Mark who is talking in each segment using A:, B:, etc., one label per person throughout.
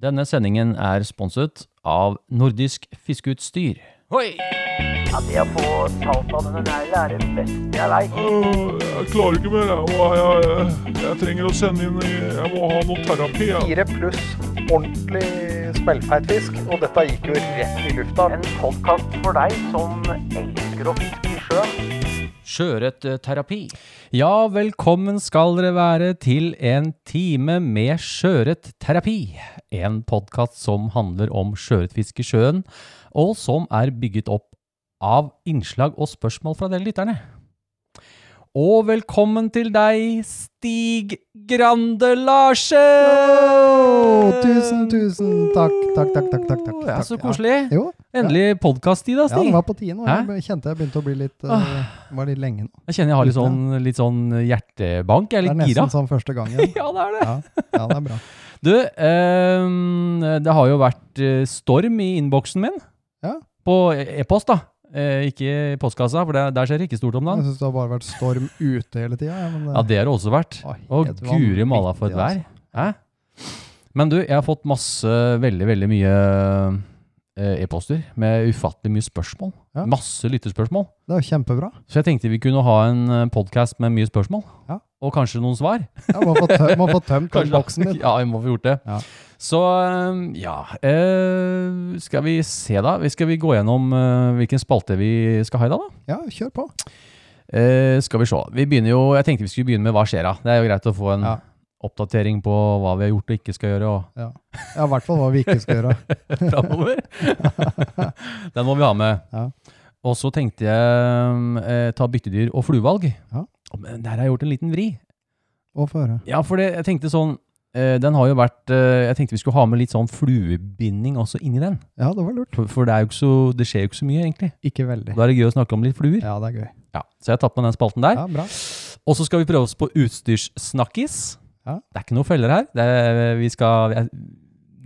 A: Denne sendingen er sponset av Nordisk Fiskeutstyr. Hoi!
B: Det å få talt av denne neglen er det beste jeg veit.
C: Øh, Jeg klarer ikke mer. Jeg, Og jeg, jeg, jeg trenger å sende inn i- Jeg må ha noe terapi. Jeg.
D: Fire pluss ordentlig smellfeit fisk, og dette gikk jo rett i lufta.
B: En podkast for deg som elsker å fiske i sjøen.
A: Sjøørretterapi. Ja, velkommen skal dere være til en time med sjøørretterapi. En podkast som handler om sjøørretfiske i sjøen, og som er bygget opp av innslag og spørsmål fra dere lytterne. Og velkommen til deg, Stig Grande Larsen!
E: Å, tusen, tusen takk, takk, takk, takk, takk, takk,
A: Ja, så
E: takk, ja.
A: koselig.
E: Jo.
A: Endelig podkast-tid, da,
E: Ja,
A: Stig.
E: det var på tide nå.
A: Hæ?
E: Jeg kjente jeg begynte å bli litt eh, Var litt lenge nå.
A: Jeg kjenner jeg har litt sånn, litt sånn hjertebank. Jeg er
E: Det er
A: litt gira.
E: nesten sånn. som første gangen.
A: Ja, det er det.
E: Ja, ja det er bra.
A: Du, ehm, det har jo vært eh, storm i innboksen min.
E: Ja.
A: På e-post, da. Eh, ikke i postkassa, for der, der skjer det ikke stort om
E: Jeg
A: dagen.
E: syns det har bare vært storm ute hele tida. Ja, men eh, det-
A: Ja, det har det også vært.
E: Å, helt
A: Og guri malla for et vær.
E: vanvittig, altså.
A: Hæ? Men du, jeg har fått masse, veldig, veldig mye eh, e-poster med ufattelig mye spørsmål.
E: Ja.
A: Masse lyttespørsmål.
E: Det er jo kjempebra.
A: Så jeg tenkte vi kunne ha en podkast med mye spørsmål.
E: Ja.
A: Og kanskje noen svar.
E: Ja, må, få tø må få tømt den
A: Kanskje da.
E: boksen din.
A: Ja, vi må få gjort det.
E: Ja.
A: Så um, ja eh, Skal vi se, da. Vi- Skal vi gå gjennom eh, hvilken spalte vi skal ha i dag, da?
E: Ja, kjør på.
A: Eh, skal vi se. Vi begynner jo Jeg tenkte vi skulle begynne med Hva skjer da? Det er jo greit å få en
E: Ja.
A: oppdatering på hva vi har gjort og ikke skal gjøre og
E: Ja, ja i hvert fall hva vi ikke skal gjøre.
A: framover. Den må vi ha med.
E: Ja.
A: Og så tenkte jeg um, eh, ta byttedyr og fluevalg.
E: Ja.
A: Men der har jeg gjort en liten vri.
E: Å få høre.
A: Ja, for det, jeg tenkte sånn eh, Den har jo vært eh, Jeg tenkte vi skulle ha med litt sånn fluebinding også inni den.
E: Ja, det var lurt.
A: For, for det, er jo ikke så, det skjer jo ikke så mye, egentlig.
E: Ikke veldig.
A: Da er det gøy å snakke om litt fluer.
E: Ja, det er gøy.
A: Ja, Så jeg har tatt med den spalten der.
E: Ja, bra.
A: Og så skal vi prøve oss på utstyrssnakkis.
E: Ja.
A: Det er ikke noen feller her. Det, er- vi skal jeg-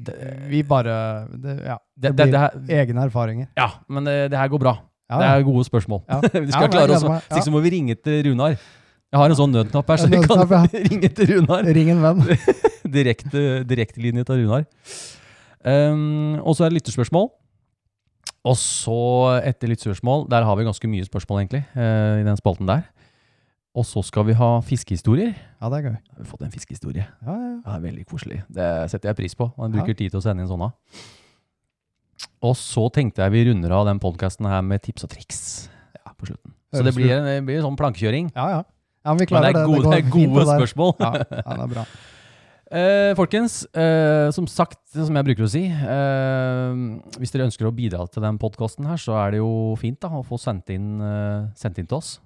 A: det,
E: Vi bare det, Ja.
A: det,
E: Det
A: det, det
E: blir
A: her,
E: egne erfaringer.
A: ja, men det, det her går bra.
E: Ja,
A: Det
E: ja.
A: er gode spørsmål.
E: Ja.
A: Vi skal
E: Ja, men jeg
A: klare oss.
E: gleder meg. Ja.
A: Slik så må vi ringe til Runar. Jeg har en sånn nødknapp her, så
E: En
A: vi kan
E: nødknapp,
A: ringe til Runar.
E: Ring en venn.
A: direkte, direktelinje til Runar. Um, og så er det lytterspørsmål. Og så, etter lytterspørsmål, der har vi ganske mye spørsmål, egentlig, eh, i den spalten der. Og så skal vi ha fiskehistorier.
E: Ja, det er gøy.
A: Har vi fått en fiskehistorie?
E: Ja, ja, ja.
A: Ja, veldig koselig. Det setter jeg pris på. Man bruker tid til å sende inn sånne. Og så tenkte jeg vi runder av den podkasten her med tips og triks ja, på slutten. Så det
E: Høres
A: blir, en, det blir en sånn plankekjøring.
E: Ja, ja. ja men vi
A: Men
E: klarer
A: det er gode, det er
E: går fint,
A: gode
E: der.
A: spørsmål.
E: Ja, ja, det er bra.
A: Eh, folkens, eh, som sagt, som jeg bruker å si, eh, hvis dere ønsker å bidra til den podkasten her, så er det jo fint da, å få sendt inn, eh, sendt inn til oss.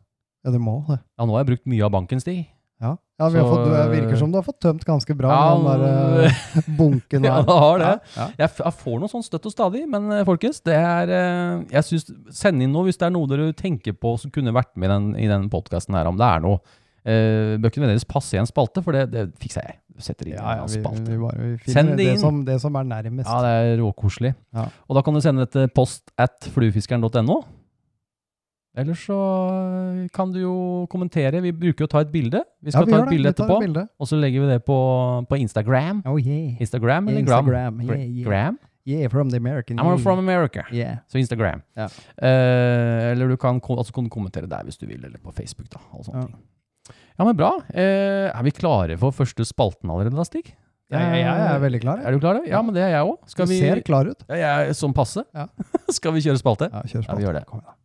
E: Ja, du må det.
A: Ja, nå har jeg brukt mye av banken, Stig.
E: Ja, ja vi har
A: Så, eh,
E: fått, det virker som du har fått tømt ganske bra
A: Ja,
E: med den der eh, bunken
A: Ja,
E: her.
A: det har det.
E: Ja, ja.
A: Jeg, f jeg får noe sånn støtt og stadig, men eh, folkens, det er eh, Jeg syns Send inn noe hvis det er noe dere tenker på som kunne vært med i den, i den podkasten her, om det er noe. Eh, bør ikke nødvendigvis passe i en spalte, for det, det fikser jeg. Setter inn
E: Ja,
A: en
E: ja, vi,
A: spalte.
E: vi, bare, vi
A: Send
E: finner
A: det
E: det,
A: inn.
E: som, det som er nærmest.
A: Ja, det er råkoselig.
E: Ja.
A: Og da kan du sende det til post at fluefiskeren.no. Eller så eh, kan du jo kommentere. Vi bruker jo å ta et bilde. Vi skal
E: vi
A: ta
E: gjør
A: et
E: det.
A: bilde
E: Vi tar et
A: etterpå,
E: bilde.
A: og så legger vi det på, på Instagram.
E: Oh yeah.
A: Instagram eller Gram?
E: Instagram. Yeah,
A: Gra-
E: yeah.
A: Gram?
E: yeah, from the American.
A: I'm
E: yeah.
A: from America.
E: Yeah.
A: Så Instagram.
E: Ja.
A: Eh, eller du kan, ko- altså kan du kommentere der hvis du vil, eller på Facebook. da, og sånne
E: Ja.
A: ting. Ja, men bra. Eh, er vi klare for første spalten allerede, da, Stig? Eh,
E: Ja, ja, ja, jeg er veldig klar. jeg.
A: Er du klar? Ja, men det er jeg òg. Skal
E: Du
A: vi
E: ser klar ut.
A: Ja, jeg er sånn passe.
E: Ja.
A: Skal vi kjøre spalte?
E: Ja, kjør
A: Ja, vi
E: spalt.
A: gjør det.
E: Kom igjen da.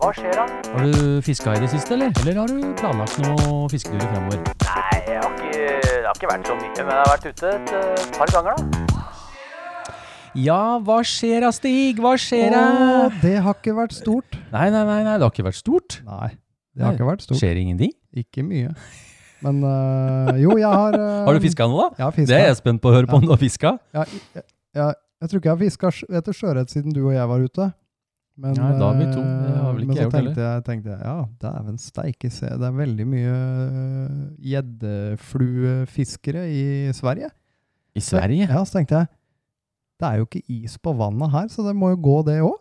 B: Hva skjer da?
A: Har du fiska i det siste, eller? Eller har du planlagt noe fisketurer fremover?
B: Nei, jeg har ikke, det har ikke vært så mye, men jeg har vært ute et eh, par ganger, da.
A: Ja, hva skjer da, Stig? Hva skjer
E: Å, det har ikke vært stort.
A: Nei, nei, nei, nei, det har ikke vært stort.
E: Nei, det har ikke vært stort.
A: Skjer ingenting?
E: Ikke mye. Men øh, jo, jeg har øh,
A: Har du fiska noe, da?
E: Jeg har fiska.
A: Det er jeg spent på å høre på om du har fiska.
E: Ja, jeg, jeg, jeg tror ikke jeg har fiska etter sjøørret siden du og jeg var ute. Men,
A: Nei, da er vi to. Det har vel
E: eh,
A: ikke
E: men
A: jeg
E: så
A: gjort
E: tenkte jeg, tenkte jeg ja, dæven steike se, det er veldig mye eh, gjeddefluefiskere i Sverige.
A: I Sverige?
E: Ja, så tenkte jeg det er jo ikke is på vannet her, så det må jo gå, det òg.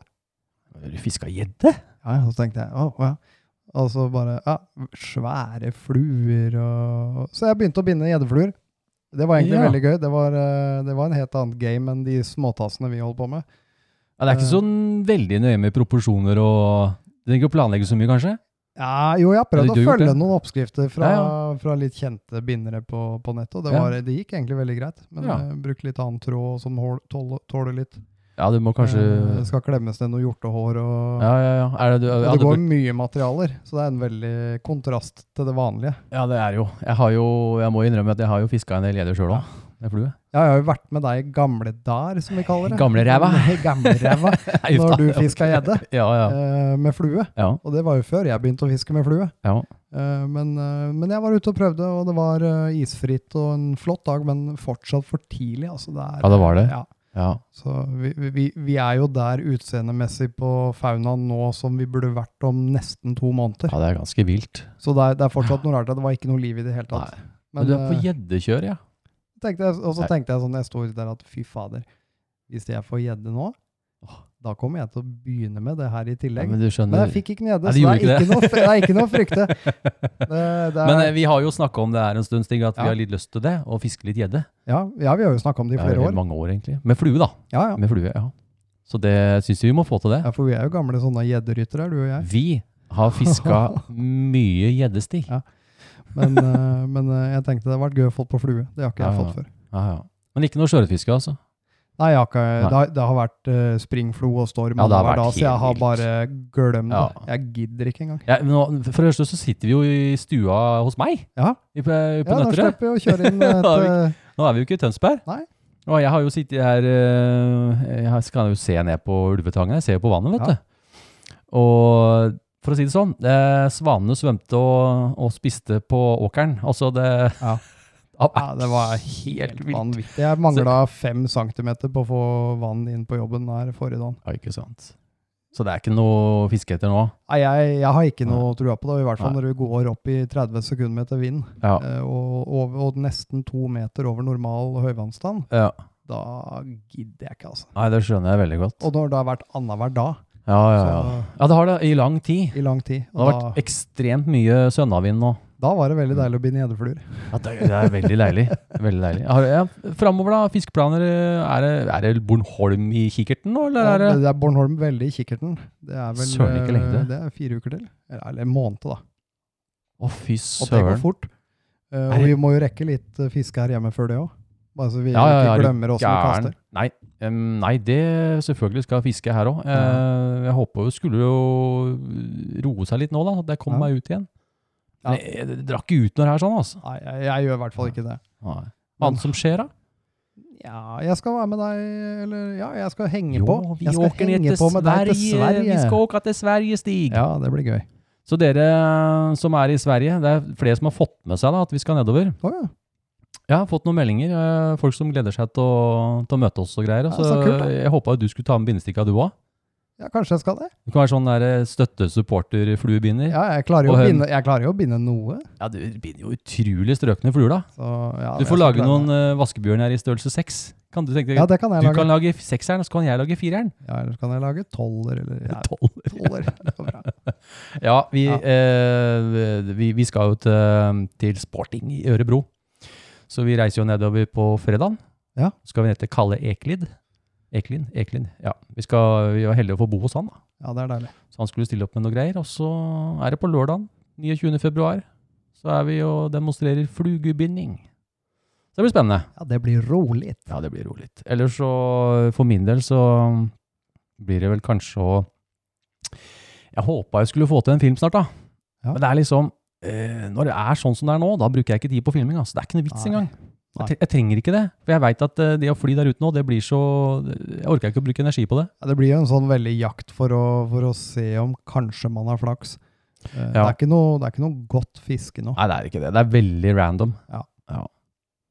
A: Har du fiska gjedde?
E: Ja, ja, så tenkte jeg å, å, ja. Og så bare ja, svære fluer og Så jeg begynte å binde gjeddefluer. Det var egentlig
A: Ja.
E: veldig gøy. Det var, eh, det var en helt annen game enn de småtassene vi holdt på med.
A: Ja, det er ikke sånn veldig nøye med proporsjoner og Du trenger ikke å planlegge så mye, kanskje?
E: Ja, jo, jeg har prøvd
A: Ja,
E: å
A: du har gjort
E: følge
A: det.
E: noen oppskrifter fra,
A: Ja,
E: fra litt kjente bindere på, på nettet, og det,
A: Ja.
E: var, det gikk egentlig veldig greit. Men
A: Ja.
E: eh, bruk litt annen tråd som hår- tåler, tåler litt.
A: Ja, du må kanskje
E: Eh, det skal klemmes ned noe hjortehår. Og,
A: Ja, ja, ja. Er det, du,
E: og
A: ja,
E: det
A: du,
E: går mye materialer, så det er en veldig kontrast til det vanlige.
A: ja, det er jo Jeg har jo Jeg må innrømme at jeg har jo fiska en del gjedde sjøl òg. Med flue.
E: Ja, jeg har jo vært med deg i gamle dar, som vi kaller det.
A: Gamle ræva.
E: gamle ræva,
A: Nei, uff da.
E: når du fiska gjedde
A: Ja, ja.
E: eh, med flue.
A: ja,
E: Og det var jo før jeg begynte å fiske med flue.
A: ja.
E: Eh, men, eh, men jeg var ute og prøvde, og det var eh, isfritt og en flott dag, men fortsatt for tidlig. Altså, det er,
A: Ja, det var det.
E: Ja.
A: ja.
E: Så vi, vi- vi, vi er jo der utseendemessig på faunaen nå som vi burde vært om nesten to måneder.
A: Ja, det er ganske vilt.
E: Så det er, det er fortsatt noe rart at det var ikke noe liv i det hele tatt.
A: Nei. Men
E: Men,
A: du er på
E: eh,
A: gjeddekjør, ja.
E: tenkte jeg, og så
A: Nei.
E: tenkte jeg sånn, jeg står der at fy fader, hvis jeg får gjedde nå, da kommer jeg til å begynne med det her i
A: ja.
E: tillegg.
A: Men du
E: men
A: skjønner
E: jeg fikk ikke noe
A: Nei, du
E: gjedde, så det
A: gjorde
E: er
A: ikke
E: ikke, noe, det er ikke noe å frykte. Det, det
A: Men eh,
E: er,
A: vi har jo snakka om det her en stund, Stig, at vi
E: Ja.
A: har litt lyst til det, å fiske litt gjedde.
E: ja, ja, vi har jo snakka om det i
A: Det er
E: flere
A: jo
E: år.
A: mange år, egentlig. Med flue, da.
E: Ja, ja.
A: Med flue, ja. Så det syns vi vi må få til det.
E: ja, for vi er jo gamle sånne gjedderyttere, du og jeg.
A: Vi har fiska mye gjeddestig.
E: Ja. Men, eh, men eh, jeg tenkte det hadde vært gøy å få på flue. Det har ikke
A: Ja,
E: jeg fått før.
A: Ja, ja. Men ikke noe sjøørretfiske, altså.
E: Nei, jeg har ikke,
A: Nei.
E: Det, har, det har vært eh, springflo og storm
A: Ja, det har
E: annenhver
A: vært
E: dag, så jeg har
A: helt
E: bare glemt det.
A: Ja.
E: Jeg gidder ikke engang.
A: Ja, men nå, for det første så sitter vi jo i stua hos meg
E: Ja.
A: i- på, på
E: Ja, da
A: Nøtterøy.
E: slipper vi å kjøre inn
A: Da
E: et
A: har vi
E: eh,
A: Nå er vi jo ikke i Tønsberg.
E: Nei.
A: Og jeg har jo sittet her eh, Jeg har- kan jo se ned på ulvetangen. Jeg ser jo på vannet, vet
E: Ja.
A: du. Og for å si det sånn, eh, svanene svømte og, og spiste på åkeren. Altså det
E: Ja.
A: Det
E: Ja,
A: har vært
E: det var
A: helt
E: helt
A: vilt.
E: vanvittig. Jeg mangla fem centimeter på å få vann inn på jobben her forrige dag.
A: Ja, ikke sant. Så det er ikke noe å fiske etter nå?
E: Nei, jeg, jeg har ikke noe trua på det, og i hvert fall
A: Nei.
E: når du går opp i 30 sekundmeter vind
A: Ja.
E: eh, og, og, og nesten to meter over normal høyvannsstand,
A: ja.
E: da gidder jeg ikke, altså.
A: Nei, det skjønner jeg veldig godt.
E: Og når det har vært annenhver dag
A: Ja, ja, ja. ja det har det i lang tid.
E: så, i lang tid,
A: Det har
E: og
A: vært
E: da,
A: ekstremt mye sønnavind nå.
E: da var det veldig deilig å binde gjeddefluer.
A: Ja, det, det er veldig deilig. Veldig deilig. Har, ja, framover, da? Fiskeplaner? eh, Er det, er det Bornholm i kikkerten nå, eller
E: Ja,
A: er det
E: det er Bornholm veldig i kikkerten. Det er vel
A: Søren, ikke lenge til.
E: eh, det er fire uker til. Eller, eller en måned, da.
A: Å, fy
E: Og det går
A: søren.
E: fort. Eh,
A: Er
E: og
A: det-
E: vi må jo rekke litt eh, fiske her hjemme før det òg. Bare så vi
A: Ja, ja, ja, er
E: ikke
A: du
E: glemmer åssen vi
A: Gæren.
E: altså, kaster.
A: Nei, em, nei, det selvfølgelig skal jeg fiske her òg. Jeg håper jo skulle jo roe seg litt nå, da. At jeg kom
E: Ja.
A: meg ut igjen.
E: Ja.
A: Men jeg, jeg drakk ikke ut når det er sånn, altså.
E: Nei, jeg, jeg gjør i hvert fall ikke det.
A: Nei. Hva annet som skjer, da?
E: Ja, jeg skal være med deg, eller ja, jeg skal henge på.
A: Jo, vi
E: Jeg skal
A: åker ned
E: henge
A: til
E: på med deg
A: Sverige.
E: til Sverige.
A: Vi skal åke til Sverige, Stig.
E: Ja, det blir gøy.
A: Så dere eh, som er i Sverige, det er flere som har fått med seg da, at vi skal nedover.
E: Å ja.
A: Jeg har fått noen meldinger. eh, Folk som gleder seg til å, til å møte oss og greier.
E: Ja,
A: Så
E: så kult, da.
A: jeg håpa du skulle ta med bindestikka, du òg.
E: ja, kanskje jeg skal det.
A: Du kan være sånn der eh, støtte-supporter-fluebinder. Ja.
E: Ja, jeg klarer jo,
A: Og
E: å
A: hun-
E: binde, jeg klarer jo å binde noe.
A: du binder jo utrolig strøkne fluer, da.
E: Så, ja,
A: Du
E: jeg
A: får
E: skal
A: lage
E: klare
A: noen
E: det.
A: eh, vaskebjørner i størrelse seks. Kan du tenke deg?
E: Ja, det kan jeg
A: du
E: lage.
A: kan lage sekseren, og så kan jeg lage fireren.
E: Ja, eller så kan jeg lage tolver, eller ja,
A: Tolv.
E: tolver. Det går bra.
A: Ja, vi,
E: Ja.
A: Eh, vi, vi skal jo til, til Sporting i Ørebro. Så vi reiser jo nedover på fredagen.
E: Ja.
A: Så skal vi ned til Kalle Eklid. Eklid? Eklid, ja. Vi, skal, vi var heldige å få bo hos han, da.
E: Ja, det er deilig.
A: Så han skulle stille opp med noe greier. Og så er det på lørdagen, 29. februar, så er vi og demonstrerer flugebinding. Så det blir spennende.
E: Ja, det blir rolig.
A: Ja, det blir rolig. Ellers så, for min del, så blir det vel kanskje å Jeg håpa jeg skulle få til en film snart, da.
E: Ja.
A: Men det er liksom eh, Når det er sånn som det er nå, da bruker jeg ikke tid på filming. Altså. Det er ikke noe vits
E: Nei.
A: engang.
E: Nei.
A: Jeg, tre- jeg trenger ikke det. For jeg veit at eh, det å fly der ute nå, det blir så Jeg orker ikke å bruke energi på det.
E: Ja, det blir jo en sånn veldig jakt for å, for å se om kanskje man har flaks. Eh, Det,
A: Ja.
E: er ikke noe, det er ikke noe godt fiske nå.
A: Nei, det er ikke det. Det er veldig random.
E: Ja.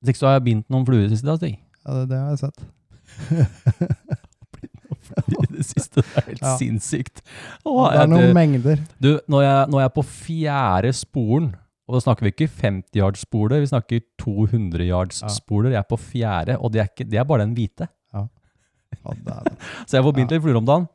A: Hvis ikke så har jeg bindt noen fluer i det siste, da, Stig.
E: Ja, det, det har jeg sett.
A: I det siste. Det er helt
E: Ja.
A: sinnssykt. Å,
E: det er
A: jeg,
E: noen
A: du,
E: mengder.
A: du, når, jeg, når jeg er på fjerde sporen, og da snakker vi ikke 50-yards-spoler, vi snakker 200-yards-spoler. Jeg er på fjerde, og det er, ikke, det er bare den hvite.
E: Ja, det er det.
A: Så jeg får bindt
E: Ja.
A: litt fluer om dagen.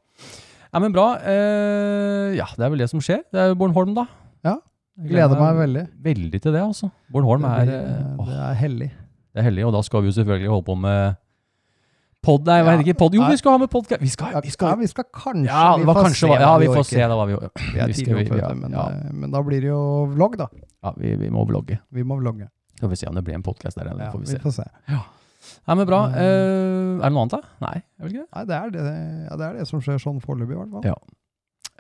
A: Ja, men bra. Eh, ja, det er vel det som skjer. Det er jo Bornholm, da.
E: Ja.
A: Jeg
E: Gleder meg veldig.
A: veldig til det, altså. Bornholm
E: Det
A: er,
E: blir,
A: eh,
E: eh,
A: åh,
E: det er hellig.
A: Det er heldig, og da skal vi jo selvfølgelig holde på med pod... Nei, hva heter det ikke? Pod? Jo, vi skal ha med podkast! Vi skal,
E: Ja,
A: vi
E: ja,
A: skal
E: vi skal kanskje
A: Ja, det var
E: får
A: kanskje
E: hva
A: Ja, vi
E: orker.
A: får se. Da var vi jo
E: Vi er
A: vi skal-
E: tidlig
A: vi-
E: oppe,
A: ja,
E: vet du, men,
A: ja.
E: eh, men da blir det jo vlogg, da.
A: Ja, vi, vi må vlogge.
E: Vi må vlogge.
A: Skal vi se om det blir en podkast der, eller
E: Ja,
A: får vi se.
E: får se.
A: Nei, men bra.
E: Eh,
A: Eh, er det noe annet, da? Nei, er det ikke det?
E: Nei, det er det, ja, det er det som skjer sånn foreløpig, i hvert fall.
A: Ja.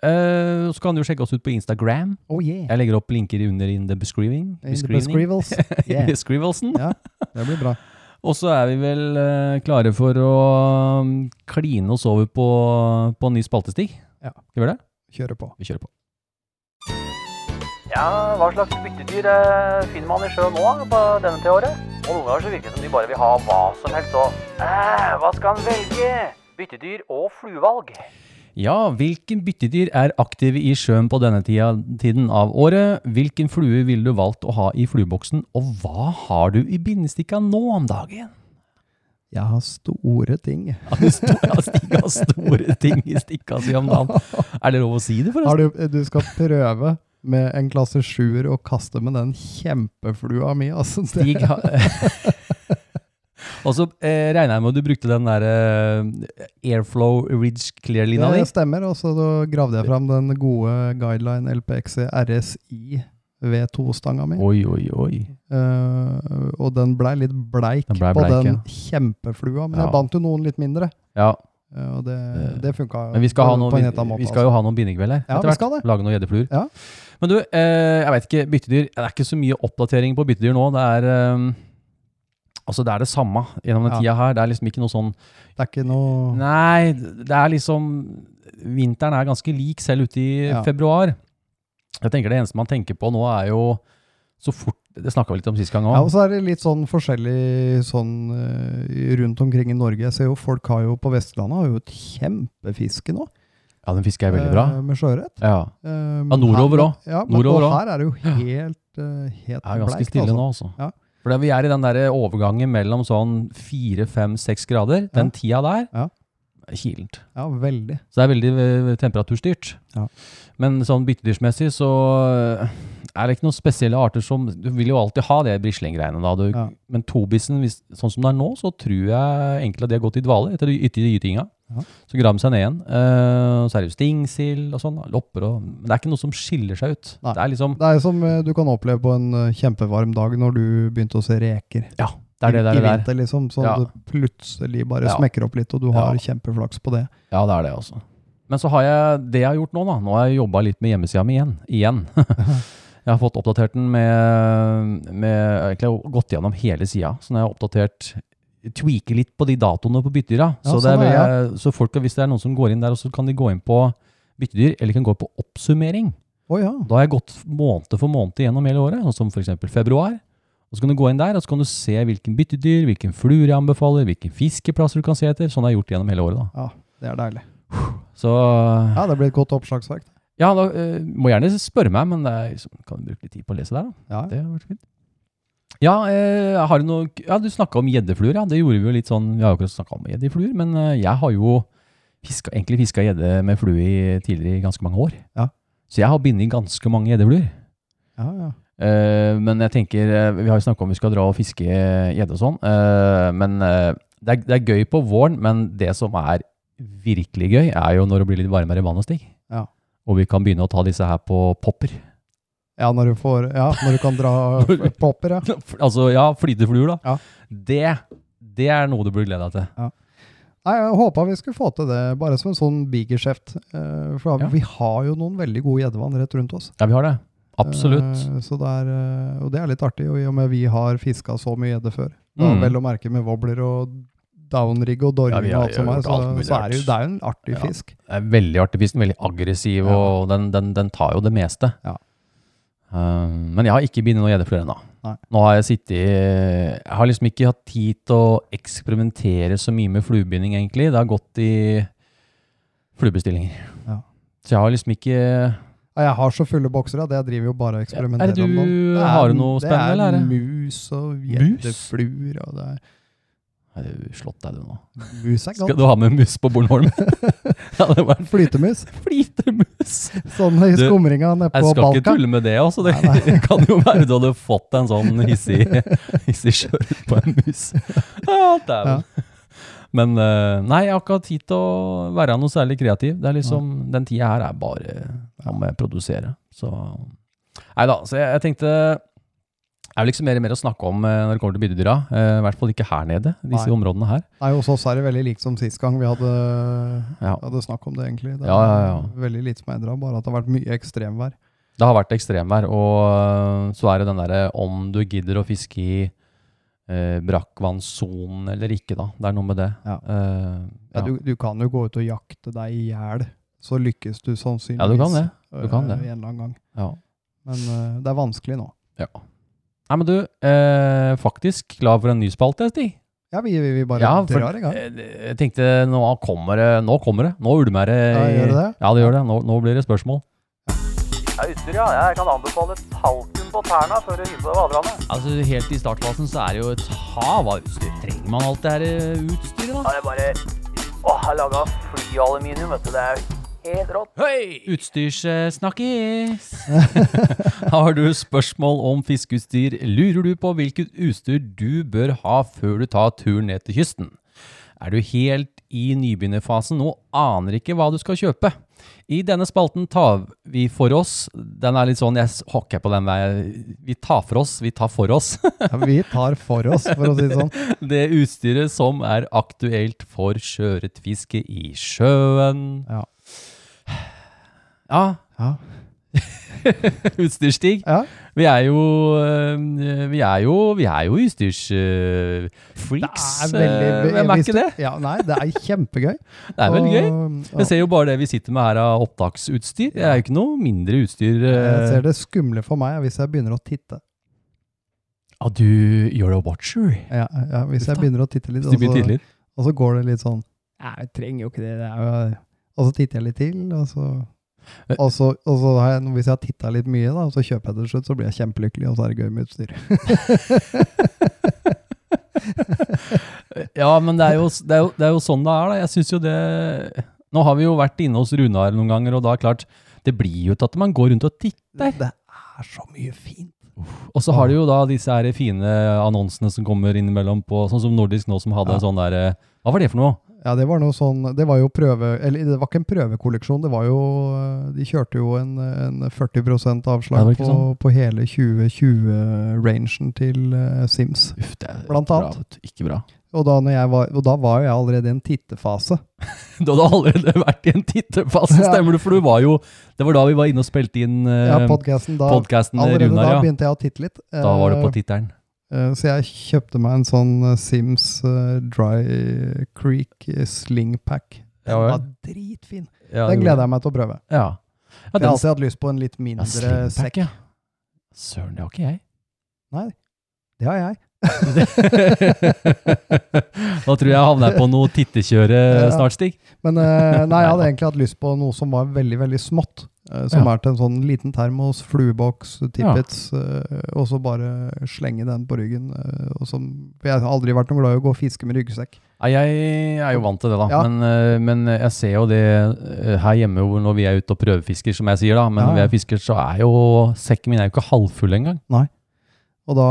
A: Eh, så kan du jo sjekke oss ut på Instagram.
E: Oh yeah!
A: Jeg legger opp linker under in the bescriving.
E: In the
A: Beskrivning.
E: beskrivels. Yeah.
A: Beskrivelsen.
E: Ja. Det blir bra.
A: Og så er vi vel eh, klare for å mm, kline oss over på, på en ny spaltestig.
E: Ja.
A: Skal vi gjøre det?
E: Kjøre på.
A: Vi kjører på.
B: Ja, hva slags byttedyr eh, finner man i sjøen nå eh, på denne til året? Og noen ganger så virker det som de bare vil ha hva som helst og eh, Hva skal en velge? Byttedyr og fluevalg.
A: Ja, hvilken byttedyr er aktive i sjøen på denne tida, tiden av året? Hvilken flue ville du valgt å ha i flueboksen, og hva har du i bindestikka nå om dagen?
E: Jeg har store ting.
A: Ja, det står- ja, Stig har store ting i stikka si om dagen. Er det lov å si det,
E: Har
A: forresten?
E: du, du skal prøve med en klasse sjuer og kaste med den kjempeflua mi, altså. Det-
A: Stig har Og så eh, regner jeg med at du brukte den der eh, Airflow Ridge Clear-lina di.
E: Det stemmer, og så da gravde jeg fram den gode guideline LPXC RSI V2-stanga mi.
A: Oi, oi, oi.
E: Eh, og den blei litt bleik,
A: Den blei
E: på
A: bleik,
E: den
A: ja.
E: kjempeflua, men
A: Ja.
E: jeg bandt jo noen litt mindre.
A: Ja,
E: eh, og det,
A: Det-
E: det funka
A: men vi skal, ha
E: på-
A: noen,
E: på en helt annen
A: vi,
E: måte. altså.
A: vi skal jo ha noen bindekvelder
E: Ja,
A: etter
E: vi
A: hvert.
E: skal det.
A: Lage noen gjeddefluer.
E: Ja.
A: Men du, eh, jeg vet ikke, byttedyr, det er ikke så mye oppdatering på byttedyr nå. Det er, eh, altså det, er det samme gjennom den
E: Ja.
A: tida her. Det er liksom ikke noe sånn
E: altså. Det er ikke noe
A: Nei, det er liksom Vinteren er ganske lik selv ute i
E: Ja.
A: februar. Jeg tenker Det eneste man tenker på nå, er jo så fort Det snakka vi litt om sist gang
E: Ja, og
A: òg.
E: så er det litt sånn forskjellig sånn eh, rundt omkring i Norge. Jeg ser jo folk har jo på Vestlandet har jo et kjempefiske nå.
A: Ja, den fisker jeg veldig bra.
E: eh, Med sjøørret.
A: Ja,
E: Eh,
A: Ja, nordover
E: her-
A: også.
E: Ja, men
A: Nordover
E: og
A: også.
E: her er det jo helt, uh, helt
A: Det er ganske
E: bleikt,
A: stille
E: altså.
A: nå, altså.
E: Ja.
A: For det- vi er i den der eh, overgangen mellom sånn fire, fem, seks grader. Den tida der
E: Ja.
A: er kilent.
E: Ja, veldig.
A: Så det er veldig eh, temperaturstyrt.
E: Ja.
A: Men sånn byttedyrsmessig så eh, er det ikke noen spesielle arter som Du vil jo alltid ha det brislinggreiene, da. Du,
E: Ja.
A: Men tobissen, hvis, sånn som det er nå, så tror jeg egentlig at de har gått i dvale etter de ytter gytinga.
E: Ja.
A: Så graver de seg ned igjen. Eh, så er det jo stingsild og sånn. da, Lopper og Men det er ikke noe som skiller seg ut.
E: Nei.
A: Det er liksom
E: Det er jo som eh, du kan oppleve på en eh, kjempevarm dag når du begynte å se reker.
A: Ja, det er det
E: I-
A: der.
E: I
A: det er.
E: vinter, liksom. Så
A: Ja.
E: det plutselig bare
A: Ja.
E: smekker opp litt, og du har
A: Ja.
E: kjempeflaks på det.
A: Ja, det er det, altså. Men så har jeg det jeg har gjort nå, da. Nå har jeg jobba litt med hjemmesida mi igjen. Igjen. jeg har fått oppdatert den med, med Egentlig har jeg gått gjennom hele sida. Så nå har jeg oppdatert Tweaker litt på de datoene på byttedyra.
E: Ja,
A: så, det er,
E: sånn er
A: veldig- så folk, hvis det er noen som går inn der, så kan de gå inn på byttedyr, eller kan gå på oppsummering.
E: Å ja.
A: Da har jeg gått måned for måned gjennom hele året, sånn som f.eks. februar. Og Så kan du gå inn der og så kan du se hvilken byttedyr, hvilken fluer jeg anbefaler, hvilken fiskeplasser du kan se etter. Sånn har jeg gjort gjennom hele året. da.
E: ja. Det er deilig.
A: Så
E: Ja, det blir et godt oppslagsverk.
A: Ja, da, eh, må gjerne spørre meg, men det er, liksom, kan du bruke litt tid på å lese der, da.
E: Ja.
A: Det har vært fint. Ja, eh, har du noe Ja, du snakka om gjeddefluer, ja. Det gjorde vi jo litt sånn Vi har jo ikke snakka om gjeddefluer, men eh, jeg har jo fiska, egentlig fiska gjedde med flue i, tidligere i ganske mange år.
E: Ja.
A: Så jeg har bindet ganske mange gjeddefluer.
E: Ja, ja.
A: Eh, men jeg tenker eh, Vi har jo snakka om vi skal dra og fiske gjedde og sånn. eh, men eh, det, er, det er gøy på våren, men det som er virkelig gøy, er jo når det blir litt varmere i vannet, Stig.
E: Ja.
A: Og vi kan begynne å ta disse her på popper.
E: ja, når du får Ja, når du kan dra
A: Når-
E: popper, ja.
A: altså, ja, flytefluer, da.
E: Ja.
A: Det, det er noe du burde glede deg til.
E: Nei, Jeg håpa vi skulle få til det, bare som en sånn bigeskjeft. eh, For
A: Ja.
E: vi har jo noen veldig gode gjeddevann rett rundt oss.
A: Ja, vi har det. Absolutt.
E: Eh, Så det er, eh, og det er litt artig, og i og med vi har fiska så mye gjedde før. Da,
A: Mm.
E: Vel å merke med wobbler og downrig og
A: Ja,
E: dorming
A: vi har
E: og alt som
A: jo
E: er,
A: gjort
E: så,
A: alt mulig
E: så er det, jo, det er jo en artig
A: Ja.
E: fisk.
A: Det er veldig artig fisk. Veldig aggressiv,
E: Ja.
A: og den, den, den tar jo det meste.
E: Ja.
A: Eh, men jeg har ikke begynt noen gjeddefluer ennå.
E: Nei.
A: Nå har jeg sittet i Jeg har liksom ikke hatt tid til å eksperimentere så mye med fluebinding, egentlig. Det har gått i fluebestillinger.
E: Ja.
A: Så jeg har liksom ikke
E: Ja, Jeg har så fulle bokser, ja. Det jeg driver jo bare og eksperimenterer
A: Er det du-
E: nå. Det er-
A: har du noe spennende, eller er det?
E: Det er mus og
A: Mus?
E: gjeddefluer og det er
A: Nei, du slått deg, du nå.
E: Mus er
A: Skal
E: godt.
A: du ha med mus på Bornholm? ja, det var en
E: Flytemus.
A: flitemus!
E: Sånn i
A: Du,
E: skumringa nede
A: Jeg
E: på
A: skal ikke
E: Balkan.
A: tulle med det. altså. Det kan jo være du hadde fått en sånn hissig, hissig skjørt på en mus. Ja, dæven. Men eh, nei, jeg har ikke hatt tid til å være noe særlig kreativ. Det er liksom, Den tida her er bare Nå må jeg produsere. Så Nei da. Så jeg, jeg tenkte Det er vel ikke så mer, mer å snakke om eh, når det kommer til byttedyra. Eh, I hvert fall ikke her nede. disse
E: Nei.
A: områdene her.
E: Nei, hos oss er det veldig likt som sist gang vi hadde,
A: Ja.
E: hadde snakk om det, egentlig. Det er
A: Ja, ja, ja.
E: Veldig lite som er endra, bare at det har vært mye ekstremvær.
A: Det har vært ekstremvær, og øh, så er det den derre om du gidder å fiske i eh, brakkvannssonen eller ikke, da. Det er noe med det.
E: Ja.
A: Eh,
E: Ja.
A: ja.
E: Du, du kan jo gå ut og jakte deg i hjel, så lykkes du sannsynligvis.
A: ja, du kan det. du kan det.
E: øh, En eller annen gang.
A: Ja.
E: Men øh, det er vanskelig nå.
A: ja. Nei, men du, eh, faktisk klar for en ny spalte, Stig.
E: Ja, vi, vi, vi bare
A: Ja, for-
E: drar i gang.
A: Eh, Jeg tenkte nå kommer det, nå kommer det. Nå ulmer det.
E: Ja,
A: i-
E: gjør det det?
A: Ja, det gjør det. Nå, nå blir det spørsmål.
B: Ja, utstyr, ja. Jeg kan anbefale talkum på tærne før du hiver på deg vaderne.
A: Altså, Helt i startfasen så er det jo et hav av utstyr. Trenger man alt det her eh, utstyret, da?
B: Ja, det er bare Åh, jeg laga flyaluminium, vet du. Det er helt rått.
A: Utstyrssnakkis! Har du spørsmål om fiskeutstyr, lurer du på hvilket utstyr du bør ha før du tar turen ned til kysten? Er du helt i nybegynnerfasen og aner ikke hva du skal kjøpe? I denne spalten tar vi for oss Den er litt sånn Jeg hokker på den der Vi tar for oss, vi tar for oss.
E: Ja, vi tar for oss, for å si det sånn.
A: Det utstyret som er aktuelt for sjøørretfiske i sjøen.
E: Ja.
A: Ja,
E: Ja.
A: utstyrsstig.
E: ja.
A: Vi er jo øh, Vi er jo, vi er jo
E: Det
A: utstyrsfreaks.
E: er veldig
A: eh, Hvem er
E: hvis
A: ikke
E: du-
A: det?
E: Ja, nei, det er kjempegøy.
A: Det er veldig gøy.
E: Og-
A: Jeg ser jo bare det vi sitter med her av opptaksutstyr. Det er jo ikke noe mindre utstyr.
E: Jeg ser
A: øh.
E: det skumle for meg er hvis jeg begynner å titte.
A: Ja, du You're a watcher.
E: Ja, ja, hvis jeg
A: Uff da.
E: begynner å titte litt,
A: Hvis du
E: og
A: blir
E: så,
A: tidligere.
E: og så går det litt sånn Nei, jeg trenger jo ikke det. det er jo... Og så titter jeg litt til, og så
A: Eh.
E: og så, og så har jeg, Hvis jeg har titta litt mye, da, og så kjøper jeg det til slutt, så blir jeg kjempelykkelig, og så er det gøy med utstyr.
A: Ja, men det er jo, det er jo, det er jo sånn det er, da. Jeg synes jo det Nå har vi jo vært inne hos Runar noen ganger, og da er klart Det blir jo til at man går rundt og titter.
E: Det er så mye fint.
A: Og så har du jo da disse her fine annonsene som kommer innimellom på Sånn som Nordisk nå, som hadde en sånn der eh, Hva var det for noe?
E: Ja, det var noe sånn Det var jo prøve Eller det var ikke en prøvekolleksjon, det var jo øh, De kjørte jo en, en 40
A: Ja, det
E: avslag
A: var
E: på,
A: ikke sånn.
E: på hele 2020-rangen til øh, Sims.
A: Uff, det er
E: Blant
A: bra,
E: annet.
A: vet du. ikke bra.
E: Og da, når jeg var, og da var jo jeg allerede i en tittefase.
A: Du hadde allerede vært i en tittefase,
E: Ja.
A: stemmer det? For du var jo Det var da vi var inne og spilte inn
E: Ja,
A: eh,
E: podcasten da,
A: podcasten med
E: allerede da
A: Runar, ja.
E: begynte jeg å titte litt.
A: Da var det på
E: Eh,
A: tittelen.
E: eh, Så jeg kjøpte meg en sånn eh, Sims eh, Dry Creek eh, Sling Pack.
A: Ja,
E: Den
A: ja.
E: var dritfin. Den gleder jeg meg til å prøve.
A: Ja. ja,
E: Jeg
A: den
E: har alltid hatt lyst på en litt
A: ja,
E: mindre
A: slingpack,
E: sekk.
A: ja. Søren, det har ikke jeg.
E: Det har jeg.
A: da tror jeg jeg havner på noe tittekjøre
E: Ja.
A: snart, Stig.
E: Men eh, nei, jeg hadde
A: Neida.
E: egentlig hatt lyst på noe som var veldig, veldig smått. eh, Som
A: Ja.
E: er til en sånn liten termos, flueboks, tippets, eh, og så bare slenge den på ryggen. eh, Og som, for jeg har aldri vært noe glad i å gå og fiske med ryggsekk.
A: Nei, Jeg er jo vant til det, da.
E: Ja.
A: Men, eh, men jeg ser jo det eh, her hjemme hvor når vi er ute og prøvefisker, som jeg sier, da. Men
E: Ja,
A: når
E: ja.
A: jeg fisker, så er jo sekken min er jo ikke halvfull engang.
E: Og da,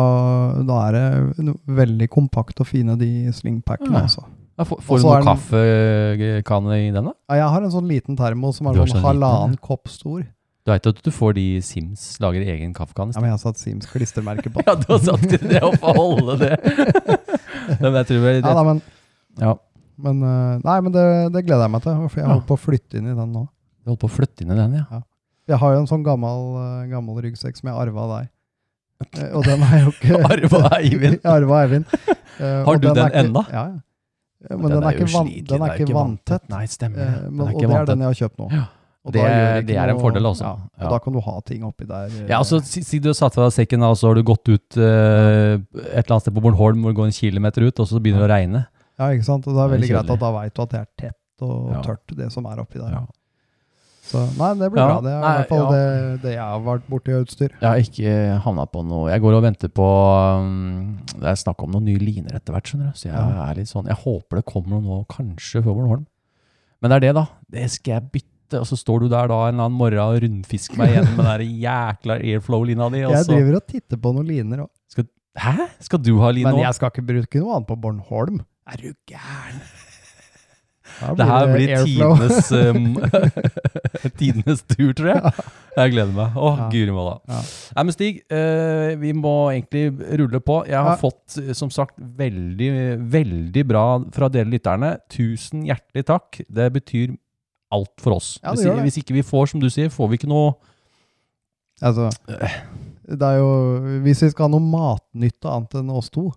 E: da er det no, veldig kompakt og fine, de slingpackene.
A: Ja.
E: Altså.
A: Ja, får- Får du
E: så
A: noe
E: er den-
A: kaffekanne i den, da?
E: Ja, Jeg har en sånn liten termos som er
A: Du har
E: sånn
A: sånn liten,
E: halvannen kopp stor.
A: Du veit at du får de Sims lager egen kaffekanne?
E: Ja, men Jeg har satt Sims klistremerke på.
A: Ja, du har sagt det, det å få holde det. Men jeg tror vel
E: Ja,
A: det,
E: da, men,
A: ja,
E: men, eh, nei, men det, det gleder jeg meg til, for jeg
A: Ja.
E: holder på å flytte inn i den nå.
A: jeg holdt på å flytte inn i den, ja.
E: Jeg har jo en sånn gammel, eh, gammel ryggsekk som jeg arva av deg. Eh, Og den er jo ikke
A: Arva av Eivind.
E: Jeg arva av Eivind. Eh,
A: Har
E: og
A: du
E: er
A: den
E: ikke-
A: ennå?
E: Ja, ja. Eh, Men den, er,
A: jo
E: ikke van,
A: slitlig,
E: den er ikke vanntett.
A: Nei, stemmer det.
E: Eh,
A: Den
E: men,
A: er
E: og
A: ikke
E: det er
A: vanntett.
E: den jeg har kjøpt nå.
A: Ja.
E: Og
A: Det-
E: da gjør ikke
A: det er en
E: noe-
A: fordel også.
E: Ja, og
A: Ja.
E: Da kan du ha ting oppi der. eh,
A: Ja, altså, si, si du har satt fra deg sekken, da, og så har du gått ut eh, et eller annet sted på Bornholm hvor det går en kilometer ut, og så begynner det å regne.
E: ja, ikke sant? Og det er
A: Det er
E: veldig greit
A: kjedelig.
E: at da veit du at det er tett og
A: Ja.
E: tørt, det som er oppi der.
A: Ja.
E: Så nei, det blir
A: Ja,
E: bra. Det er i
A: nei,
E: hvert fall
A: ja.
E: det, det jeg har vært borti av utstyr.
A: Jeg har ikke havna på noe Jeg går og venter på um, Det er snakk om noen nye liner etter hvert, skjønner du. Så jeg
E: Ja.
A: er litt sånn Jeg håper det kommer noe nå, kanskje før Bornholm. Men det er det, da. Det skal jeg bytte. Og så står du der da en eller annen morgen og rundfisker meg igjen med den der jækla airflow-lina di. Og
E: Jeg
A: så,
E: driver og titter på noen liner òg.
A: Hæ? Skal du ha line
E: Men
A: òg?
E: jeg skal ikke bruke noe annet på Bornholm. Er du gæren? Da
A: Det her blir
E: airflow.
A: tidenes, um, tidenes tur, tror jeg. Jeg gleder meg. Å,
E: Ja.
A: guri malla.
E: Ja.
A: Nei, men Stig, eh, vi må egentlig rulle på. Jeg har
E: Ja.
A: fått, eh, som sagt, veldig, veldig bra fra dere lytterne. Tusen hjertelig takk. Det betyr alt for oss.
E: Ja, det
A: hvis,
E: gjør det.
A: hvis ikke vi får, som du sier, får vi ikke noe
E: Altså, det er jo Hvis vi skal ha noe matnytt og annet enn oss to,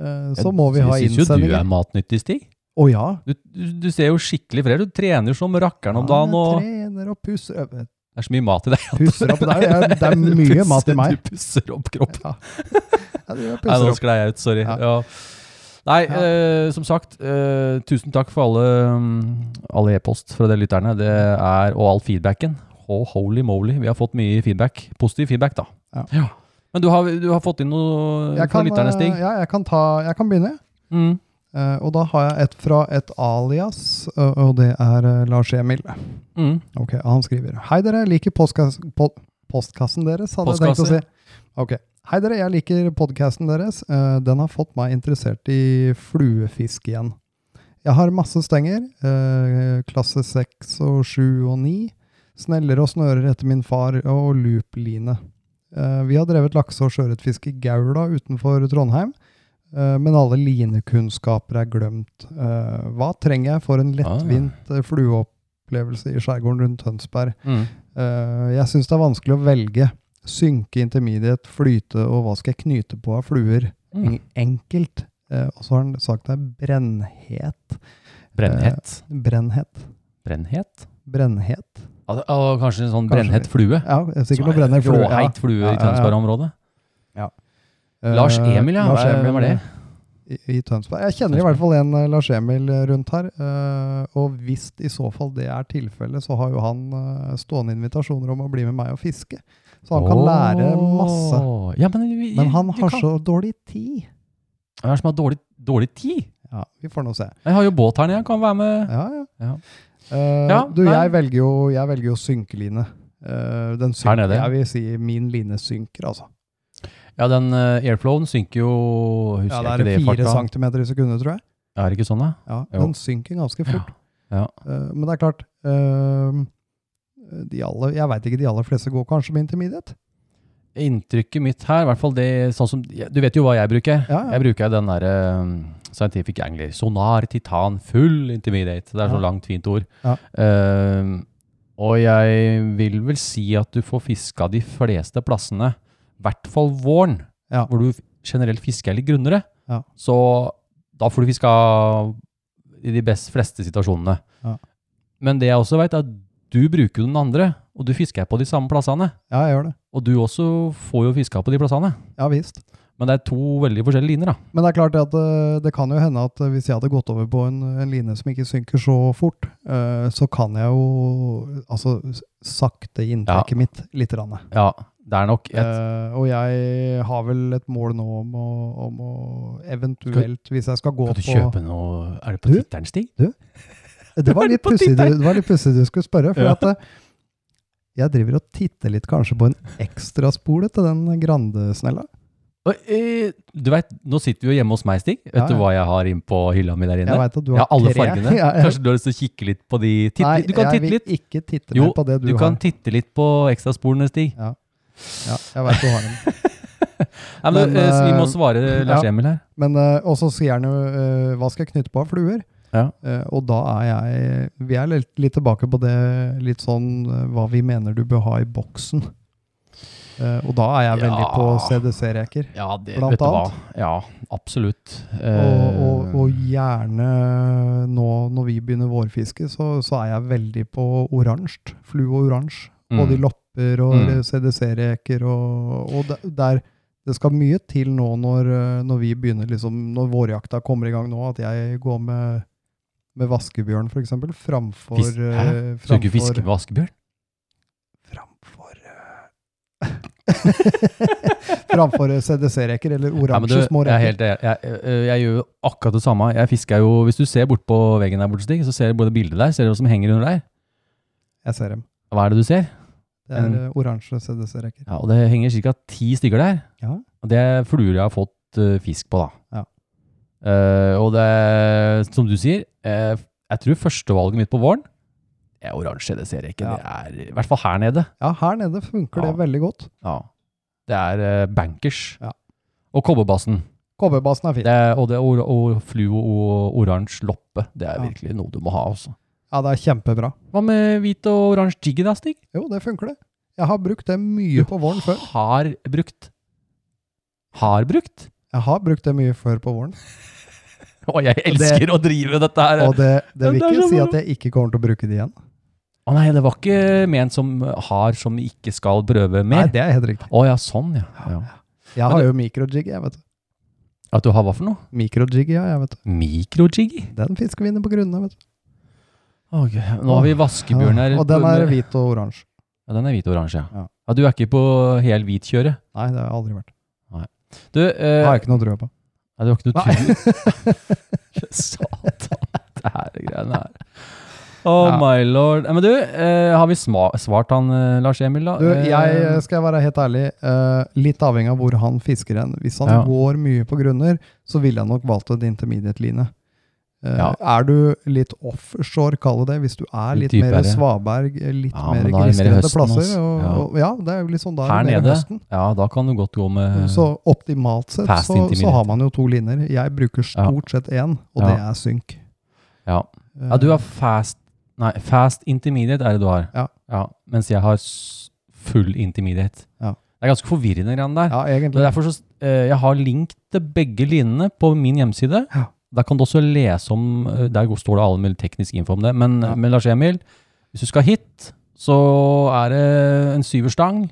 E: eh, så må vi ha
A: Jeg syns jo du
E: innsendinger.
A: er matnyttig, Stig.
E: Å ja.
A: Du, du, du ser jo skikkelig fred ut. Du trener som rakkeren om
E: Han
A: dagen. og
E: trener og pusser ø,
A: Det er så mye mat i deg. at
E: Pusser opp. Det er, det er
A: du
E: mye
A: pusser-
E: mat i meg.
A: Du pusser opp kroppen.
E: Ja. Jeg driver
A: Nei,
E: og pusser
A: nå
E: opp.
A: sklei jeg ut. Sorry.
E: Ja.
A: Ja. Nei,
E: Ja.
A: eh, som sagt, eh, tusen takk for alle, mm, alle e-post fra de lytterne. Det er, og all feedbacken. Ho- holy moly, vi har fått mye feedback. Positiv feedback, da.
E: Ja.
A: Men du har, du har fått inn noe
E: Jeg
A: fra
E: kan,
A: lytterne,
E: eh,
A: Stig?
E: ja, jeg kan, ta, jeg kan begynne.
A: Mm.
E: Eh, og da har jeg et fra et alias, ø, og det er eh, Lars Emil.
A: Mm.
E: Ok, han skriver Hei dere, liker postkass, pod, postkassen deres, hadde
A: Postkasse.
E: jeg tenkt å si. Ok. Hei dere, jeg liker podkasten deres. Eh, den har fått meg interessert i fluefisk igjen. Jeg har masse stenger, eh, klasse 6 og 7 og 9. Sneller og snører etter min far og loop-line. Eh, vi har drevet lakse- og sjøørretfiske i Gaula utenfor Trondheim, eh, men alle linekunnskaper er glemt. Eh, hva trenger jeg for en lettvint eh, flueopplevelse i skjærgården rundt Tønsberg?
A: Mm.
E: Eh, jeg syns det er vanskelig å velge. Synke, intermediate, flyte og hva skal jeg knyte på av fluer?
A: Mm.
E: En- Enkelt. Eh, og så har han sagt det er brennhet.
A: Brennhett.
E: Brennhet.
A: Brennhett?
E: Brennhet.
A: Ja, det- å, kanskje en sånn
E: Kanskje.
A: brennhett flue?
E: Ja, det er sikkert noe
A: Sånn
E: brenner flue. Ja.
A: Råheit flue
E: Ja,
A: i
E: ja, ja.
A: Tønsberg-området?
E: Eh,
A: Lars Emil, ja.
E: Lars
A: Hva-
E: Emil eh,
A: Hvem er det?
E: I, I Tønsberg. Jeg kjenner i hvert fall en eh, Lars Emil eh, rundt her. eh, og hvis i så fall det er tilfellet, så har jo han eh, stående invitasjoner om å bli med meg og fiske. Så han kan lære masse.
A: Åh. Ja, men, vi,
E: Men han
A: vi
E: har
A: kan-
E: så dårlig tid.
A: Hvem er det som har dårlig, dårlig tid?
E: Ja, vi får nå se.
A: Jeg har jo båt her nede, jeg kan være med.
E: Ja, ja.
A: Ja.
E: Eh,
A: Ja,
E: du,
A: nei.
E: jeg velger jo, jeg velger jo synkeline. Eh, den synker,
A: nede?
E: Jeg vil si min line synker, altså.
A: Ja, den eh, airflowen synker jo
E: Ja,
A: Husker
E: det
A: jeg
E: er
A: ikke det i
E: fire
A: farta.
E: centimeter i sekundet, tror jeg.
A: Er det ikke sånn, da?
E: Ja,
A: Jo.
E: den synker ganske fort.
A: Ja.
E: Eh, men det er klart eh, de aller, Jeg veit ikke, de aller fleste går kanskje med intermediate?
A: Inntrykket mitt her, i hvert fall det sånn som ja, Du vet jo hva jeg bruker.
E: Ja, ja.
A: Jeg bruker den derre Scientific Angler. Sonar, titan, full intermediate. Det er
E: Ja.
A: så langt, fint ord.
E: Ja.
A: Eh, og jeg vil vel si at du får fiska de fleste plassene, i hvert fall våren,
E: Ja.
A: hvor du generelt fisker litt grunnere.
E: Ja.
A: Så da får du fiska i de best fleste situasjonene.
E: Ja.
A: Men det jeg også veit, er at du bruker jo den andre, og du fisker på de samme plassene.
E: Ja, jeg gjør det.
A: Og du også får jo fiska på de plassene.
E: Ja visst.
A: Men det er to veldig forskjellige liner, da.
E: Men det er klart at eh, det kan jo hende at eh, hvis jeg hadde gått over på en, en line som ikke synker så fort, eh, så kan jeg jo altså s- sakte inntaket mitt lite grann.
A: Ja, det er nok et
E: Eh, og jeg har vel et mål nå om å, om å eventuelt, hvis jeg skal gå
A: Kan du
E: på
A: kjøpe noe Er det på
E: Du?
A: titteren, Stig?
E: Det var litt
A: på
E: pussig du,
A: tittelen?
E: det var litt pussig du skulle spørre, for
A: Ja.
E: at eh, jeg driver og titter litt kanskje på en ekstraspole til den Grande-snella.
A: Og, eh, du veit, nå sitter vi jo hjemme hos meg, Stig. Vet
E: Ja,
A: du
E: ja.
A: hva jeg har innpå hylla mi der
E: Jeg
A: inne?
E: vet at du
A: Jeg
E: har
A: har alle
E: tre.
A: fargene.
E: Ja, jeg-
A: Kanskje du har lyst til å kikke litt på de titt,
E: Nei,
A: Du kan titte litt.
E: jeg vil ikke titte
A: Jo,
E: mer på det du,
A: Du kan
E: har.
A: titte litt på ekstrasporene, Stig.
E: Ja, jeg vet du har dem.
A: Nei, men,
E: Men,
A: eh, så vi må
E: eh,
A: svare Lars
E: ja.
A: Emil her.
E: Men eh, og så sier han jo eh, hva skal jeg knytte på av fluer?
A: Ja.
E: Eh, og da er jeg Vi er litt, litt tilbake på det litt sånn eh, hva vi mener du bør ha i boksen. Eh, og da er jeg veldig
A: Ja.
E: på CDC-reker.
A: Ja, det,
E: Blant
A: vet du hva.
E: annet.
A: Ja, absolutt.
E: Og, og,
A: Eh,
E: og gjerne nå når vi begynner vårfiske, så, så er jeg veldig på oransje. Flue og oransje. Både i
A: mm.
E: lopper og
A: Mm.
E: CDC-reker. Og, og det, der, det skal mye til nå når, eh, når vi begynner liksom, når vårjakta kommer i gang nå, at jeg går med med vaskebjørn, f.eks., framfor
A: Fis- Hæ?
E: eh,
A: Så du ikke
E: framfor-
A: fisker med vaskebjørn?
E: framfor eh, Framfor eh, CDC-reker eller
A: Nei, men du,
E: oransje små
A: jeg, er
E: reker.
A: helt, jeg, jeg, eh, jeg gjør jo akkurat det samme. Jeg fisker jo, Hvis du ser bort på veggen der borte, Stig, så ser du både bildet der, ser du hva som henger under der.
E: Jeg ser dem.
A: Hva er det du ser?
E: Det er
A: En-
E: eh, oransje CDC-reker.
A: Ja, og det henger ca. ti stykker der.
E: Ja.
A: Og det er fluer jeg har fått eh, fisk på, da.
E: Ja.
A: Eh, og det er, som du sier, eh, jeg tror førstevalget mitt på våren er oransje. Det ser jeg ikke.
E: Ja.
A: Det er, I hvert fall her nede.
E: Ja, her nede funker det
A: Ja.
E: veldig godt.
A: Ja. Det er eh, bankers.
E: Ja.
A: Og kobberbassen.
E: Kobberbassen er fin.
A: Det er, og det er or og flue og oransje loppe. Det er
E: Ja.
A: virkelig noe du må ha. altså. Også.
E: Ja, det er kjempebra.
A: Hva med hvit og oransje jiggy, da, Stig?
E: Jo, det funker det. Jeg har brukt det mye på våren før.
A: Har brukt. Har brukt?
E: Jeg har brukt det mye før på våren.
A: Og jeg elsker å drive dette her.
E: Og det, det vil
A: Det er
E: ikke
A: så
E: si
A: bra.
E: at jeg ikke kommer til å bruke det igjen.
A: Å nei, det var ikke ment som har som ikke skal prøve
E: Nei,
A: mer.
E: det er helt riktig.
A: Å ja, sånn, ja. ja.
E: Jeg har jo mikrojiggy, jeg, vet du.
A: At du har hva for noe?
E: Mikrojiggy, ja, jeg vet du.
A: Mikrojiggy?
E: Den fisker vi inne på grunnene, vet du.
A: Ok, Nå har vi vaskebjørn her.
E: Ja, Og den er hvit og oransje.
A: Ja, den er hvit og oransje, ja.
E: Ja.
A: ja. Du er ikke på hel hvit-kjøret?
E: Nei, det har jeg aldri vært.
A: Du,
E: Det
A: eh,
E: har jeg ikke noe trua på.
A: nei, Eh, du har ikke noe
E: Nei.
A: tur? Satan, det her greiene her. Oh
E: Ja.
A: my lord. Ja, Men du, eh, har vi sma svart han eh, Lars Emil, da?
E: Du, jeg
A: Eh,
E: eh, skal være helt ærlig, eh, litt avhengig av hvor han fisker hen. Hvis han
A: Ja.
E: går mye på grunner, så ville jeg nok valgt et intermediate-line. Eh,
A: Ja.
E: Er du litt offshore, kall det det, hvis du er
A: Litt
E: litt, mer
A: dypere.
E: Svaberg, eh, litt
A: Ja,
E: mer
A: men da er det mer
E: grisgrendte
A: høsten
E: plasser
A: også.
E: og,
A: Ja.
E: Og, ja, det er jo litt sånn da er
A: Her
E: det mer
A: nede?
E: høsten.
A: ja, da kan du godt gå med
E: Mm, Så optimalt sett
A: Fast
E: så, så
A: intermediate.
E: har man jo to linjer. Jeg bruker stort sett én, og
A: Ja.
E: det er synk.
A: Ja.
E: Eh,
A: Ja, du har fast Nei, fast intermediate er det du har.
E: Ja.
A: mens jeg har s- full intermediate.
E: Ja.
A: Det er ganske forvirrende greiene der.
E: ja,
A: Det
E: egentlig.
A: er derfor så, eh, jeg har link til begge linene på min hjemmeside.
E: Ja.
A: Der kan du også lese om eh, Der går- står det all mulig teknisk info om det. Men,
E: Ja.
A: men Lars Emil, hvis du skal hit, så er det en syverstang.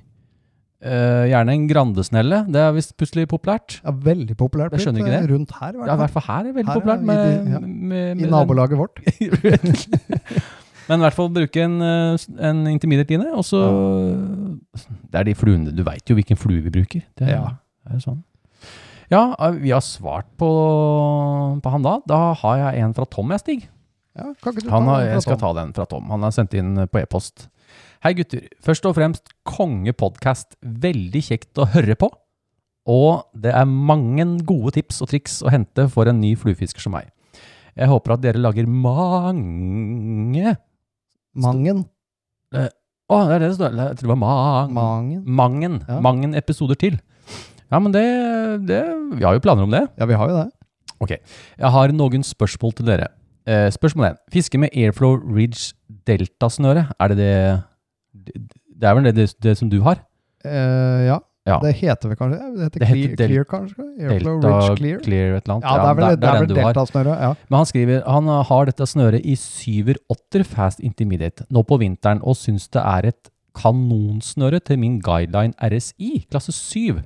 A: eh, gjerne en Grandesnelle. Det er visst plutselig populært.
E: Ja, veldig populært
A: Jeg skjønner
E: blitt,
A: ikke det.
E: eh, rundt her, i
A: Ja, I
E: hvert fall.
A: hvert fall her er det veldig
E: Her, ja,
A: populært.
E: i
A: Med,
E: de- ja.
A: med, med,
E: I nabolaget vårt.
A: Men i hvert fall bruke en, eh, s- en intermediate line, og så Det er de fluene Du veit jo hvilken flue vi bruker. Det er,
E: Ja.
A: er jo sånn. Ja, eh, vi har svart på, på han da. Da har jeg en fra Tom, jeg, Stig.
E: Ja, kan ikke du
A: Han
E: ta
A: har,
E: den fra
A: jeg skal
E: Tom?
A: ta den fra Tom. Han har sendt inn eh, på e-post. Hei, gutter. Først og fremst kongepodkast. Veldig kjekt å høre på. Og det er mange gode tips og triks å hente for en ny fluefisker som meg. Jeg håper at dere lager mange
E: Mangen.
A: Å, det er det det står. Jeg tror det var mang.
E: Mangen.
A: Mangen.
E: Ja.
A: Mangen episoder til. Ja, men det, det Vi har jo planer om det.
E: Ja, vi har jo det.
A: Jeg har noen spørsmål til dere. Eh, spørsmål 1. Fiske med Airflow Ridge Delta-snøre. Er det det Det er vel det, det, det som du har?
E: Eh, ja.
A: Ja.
E: det heter vel kanskje det? heter,
A: Det heter
E: Cle-
A: Del-
E: Clear, kanskje? Airflow Ridge Clear?
A: et eller annet.
E: Ja, det er vel, det er
A: den
E: vel
A: du har.
E: deltasnøret. Ja.
A: Men han skriver han har dette snøret i syver åtter fast intermediate nå på vinteren og syns det er et kanonsnøre til min guideline RSI klasse 7.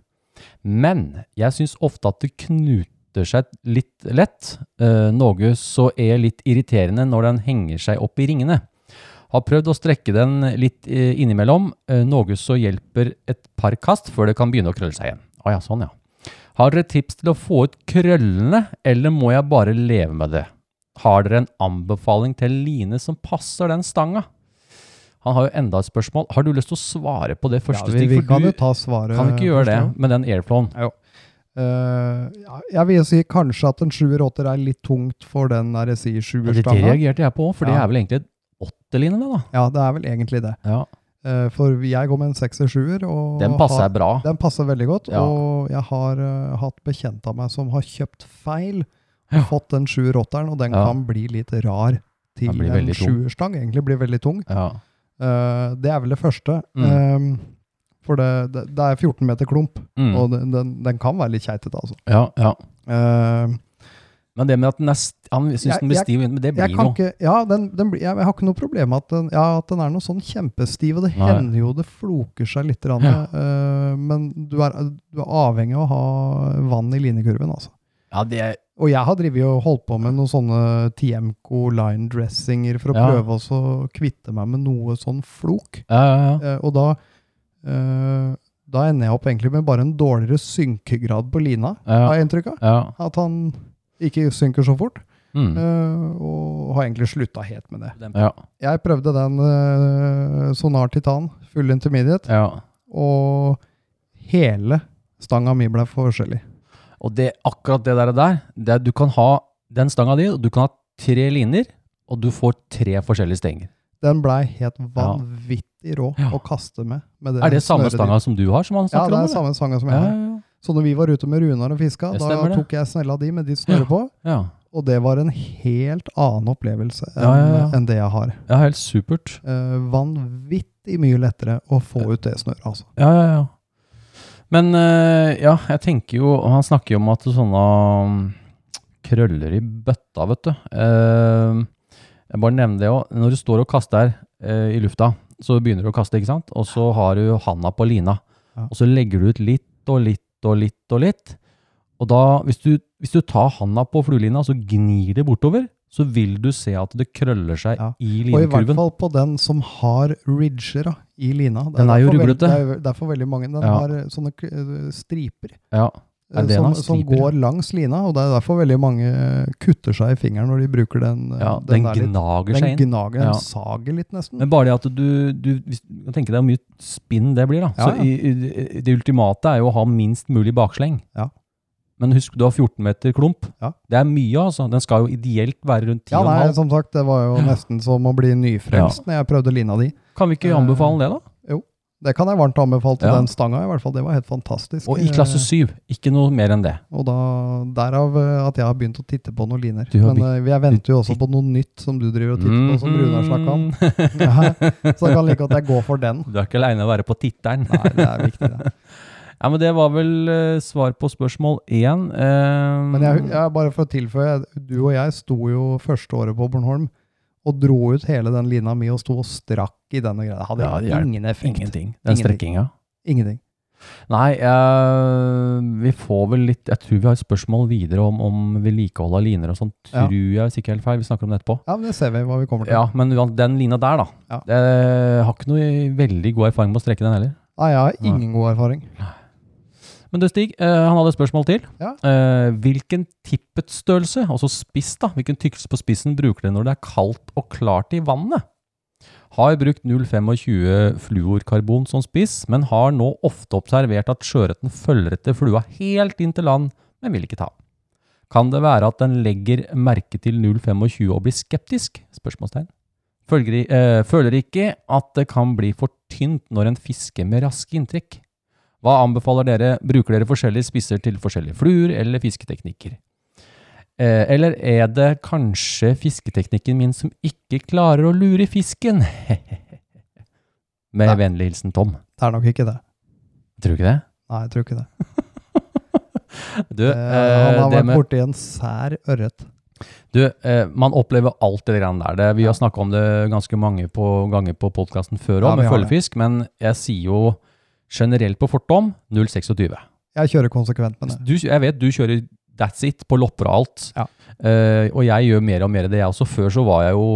A: Men jeg syns ofte at det knuter seg litt lett, eh, noe så er litt irriterende når den henger seg opp i ringene. Har prøvd å strekke den litt eh, innimellom, eh, noe så hjelper et par kast før det kan begynne å krølle seg igjen. Å ja, sånn ja. Har dere tips til å få ut krøllene, eller må jeg bare leve med det? Har dere en anbefaling til line som passer den stanga? Han har jo enda et spørsmål. Har du lyst til å svare på det
E: Ja,
A: første
E: vi,
A: stikk?
E: vi
A: For
E: kan
A: du
E: jo ta svaret.
A: kan ikke gjøre det
E: først, ja.
A: med den airflowen.
E: Eh, ja, jeg vil si kanskje at en sjuer-åtter er litt tungt for den RSI
A: Ja, Det, det
E: sjuerstanga.
A: reagerte jeg på, for det
E: Ja.
A: er vel egentlig et åtteline, det da.
E: Ja, det er vel egentlig det.
A: Ja,
E: Eh, for jeg går med en sekser-sjuer.
A: den passer jeg bra.
E: Den passer veldig godt,
A: Ja.
E: og jeg har eh, hatt bekjent av meg som har kjøpt feil,
A: Ja.
E: fått den sjueråtteren, og den
A: Ja.
E: kan bli litt rar til
A: Den blir
E: en
A: veldig tung.
E: sjuerstang. Egentlig blir veldig tung.
A: Ja.
E: Eh, det er vel det første.
A: Mm.
E: Eh, for det, det, det er 14 meter klump,
A: Mm.
E: og den, den, den kan være litt keitete, altså.
A: ja, ja.
E: Eh,
A: Men det med at den er st Han syns
E: Jeg-
A: den blir
E: jeg-
A: stiv, men det
E: jeg
A: blir
E: kan
A: noe.
E: ikke Ja, den, den blir, jeg, jeg har ikke noe problem med at den, ja, at den er noe sånn kjempestiv, og det
A: Nei.
E: hender jo det floker seg litt, grann,
A: Ja.
E: eh, men du er, du er avhengig av å ha vann i linekurven, altså.
A: Ja, det,
E: Og jeg har drivet og holdt på med noen sånne TMK line dressinger for å
A: Ja.
E: prøve også å kvitte meg med noe sånn flok.
A: Ja, ja, ja.
E: Eh, og da, eh, da ender jeg opp egentlig med bare en dårligere synkegrad på lina,
A: Ja.
E: har jeg inntrykk av.
A: ja.
E: At han ikke synker så fort.
A: Mm.
E: eh, og har egentlig slutta helt med det.
A: ja,
E: Jeg prøvde den eh, Sonar Titan, full intermediate,
A: ja.
E: og hele stanga mi ble forskjellig.
A: Og det, akkurat det der, der det er, du kan ha den stanga di, og du kan ha tre linjer, og du får tre forskjellige stenger.
E: Den blei helt vanvittig rå
A: Ja.
E: å kaste med. med
A: Er det samme
E: snøret ditt.
A: stanga som du har, som han
E: Ja,
A: snakker
E: det
A: om?
E: er samme stanga som jeg
A: Ja,
E: har. Så når vi var ute med Runar og fiska,
A: Det
E: da
A: stemmer det.
E: tok jeg snella di med ditt snøre på,
A: ja, ja.
E: og det var en helt annen opplevelse enn
A: Ja, ja, ja.
E: enn det jeg har.
A: ja, helt supert.
E: Eh, vanvittig mye lettere å få ut det snøret, altså.
A: Ja, ja, ja. Men eh, ja, jeg tenker jo og Han snakker jo om at sånne mm, krøller i bøtta, vet du. Eh, jeg bare nevner det òg. Når du står og kaster eh, i lufta, så begynner du å kaste, ikke sant? Og så har du handa på lina.
E: Ja.
A: Og så legger du ut litt og litt og litt og litt. Og da, hvis du, hvis du tar handa på fluelina og så gnir det bortover, så vil du se at det krøller seg
E: Ja.
A: i
E: Og i hvert
A: linekurven.
E: fall på den som har ridger da, i lina. Det
A: Den er jo
E: derfor veld-
A: ruglete.
E: Det er jo- derfor veldig mange. Den
A: Ja.
E: har sånne k- eh, striper,
A: Ja. Er
E: eh,
A: det
E: som,
A: noen
E: som
A: striper?
E: går langs lina, og det er derfor veldig mange eh, kutter seg i fingeren når de bruker den. eh,
A: ja, den
E: der litt.
A: gnager seg
E: Den
A: inn.
E: gnager, den
A: Ja.
E: sager litt nesten.
A: Men bare det at du, du hvis du kan tenke deg hvor mye spinn det blir, da.
E: Ja, ja.
A: Så i, i, det ultimate er jo å ha minst mulig baksleng.
E: Ja.
A: Men husk, du har 14 meter klump.
E: Ja.
A: Det er mye, altså. Den skal jo ideelt være rundt 10,5.
E: Ja, nei, altså, som sagt, det var jo
A: Ja.
E: nesten som å bli nyfrelst når jeg prøvde lina di.
A: kan vi ikke
E: Eh,
A: anbefale det, da?
E: Det kan jeg varmt anbefale til
A: Ja.
E: den stanga, i hvert fall. Det var helt fantastisk.
A: Og i klasse
E: Eh,
A: 7, ikke noe mer enn det.
E: Og da, derav eh, at jeg har begynt å titte på noen liner.
A: Du har
E: Men eh, jeg venter jo også på noe nytt som du driver og titter på,
A: Mm.
E: som Runar snakka om.
A: Mhm.
E: Ja, så det kan like godt jeg går for den.
A: Du er ikke aleine å være på titteren.
E: Nei, det er viktig, det.
A: Ja, men det var vel eh, svar på spørsmål én. Eh,
E: Men jeg, jeg, bare for å tilføye, du og jeg sto jo første året på Bornholm og dro ut hele den lina mi og sto og strakk i den og greia. Det hadde
A: Ja, det hjelper
E: ingen effekt.
A: Ingenting. Den
E: Ingenting.
A: strekkinga.
E: Ingenting.
A: Nei, eh, vi får vel litt Jeg tror vi har et spørsmål videre om, om vedlikehold av liner og sånn.
E: Ja.
A: Tror jeg, hvis ikke helt feil. Vi snakker om det etterpå.
E: Ja, men det ser vi hva vi kommer til.
A: Ja, men uan- den lina der, da.
E: Ja.
A: Jeg har ikke noe veldig god erfaring med å strekke den heller.
E: Nei, jeg har ingen god erfaring.
A: Men du, Stig, eh, han hadde et spørsmål til.
E: Ja.
A: Eh, hvilken tippetstørrelse, altså spiss, da, hvilken tykkelse på spissen bruker dere når det er kaldt og klart i vannet? Har brukt 0,25 fluorkarbon som spiss, men har nå ofte observert at sjøørreten følger etter flua helt inn til land, men vil ikke ta. Kan det være at den legger merke til 0,25 og blir skeptisk? Spørsmålstegn. Følger, i- eh, føler ikke at det kan bli for tynt når en fisker med raske inntrekk. Hva anbefaler dere? Bruker dere forskjellige spisser til forskjellige fluer eller fisketeknikker? Eh, eller er det kanskje fisketeknikken min som ikke klarer å lure fisken? Med
E: Nei.
A: vennlig hilsen Tom.
E: Det er nok ikke det.
A: Tror du ikke det?
E: Nei, jeg tror ikke det.
A: Du,
E: Eh, han
A: eh,
E: har
A: det
E: vært
A: med,
E: borti en sær ørret.
A: du eh, man opplever alt det greiene der. Det, vi har snakka om det ganske mange på, ganger på podkasten før
E: Ja,
A: òg,
E: vi
A: med
E: har det.
A: følgefisk, men jeg sier jo generelt på fortom 026.
E: Jeg kjører konsekvent med det.
A: Du, jeg vet du kjører that's it på lopper og alt.
E: Ja.
A: Eh, og jeg gjør mer og mer av det, jeg også. Før så var jeg jo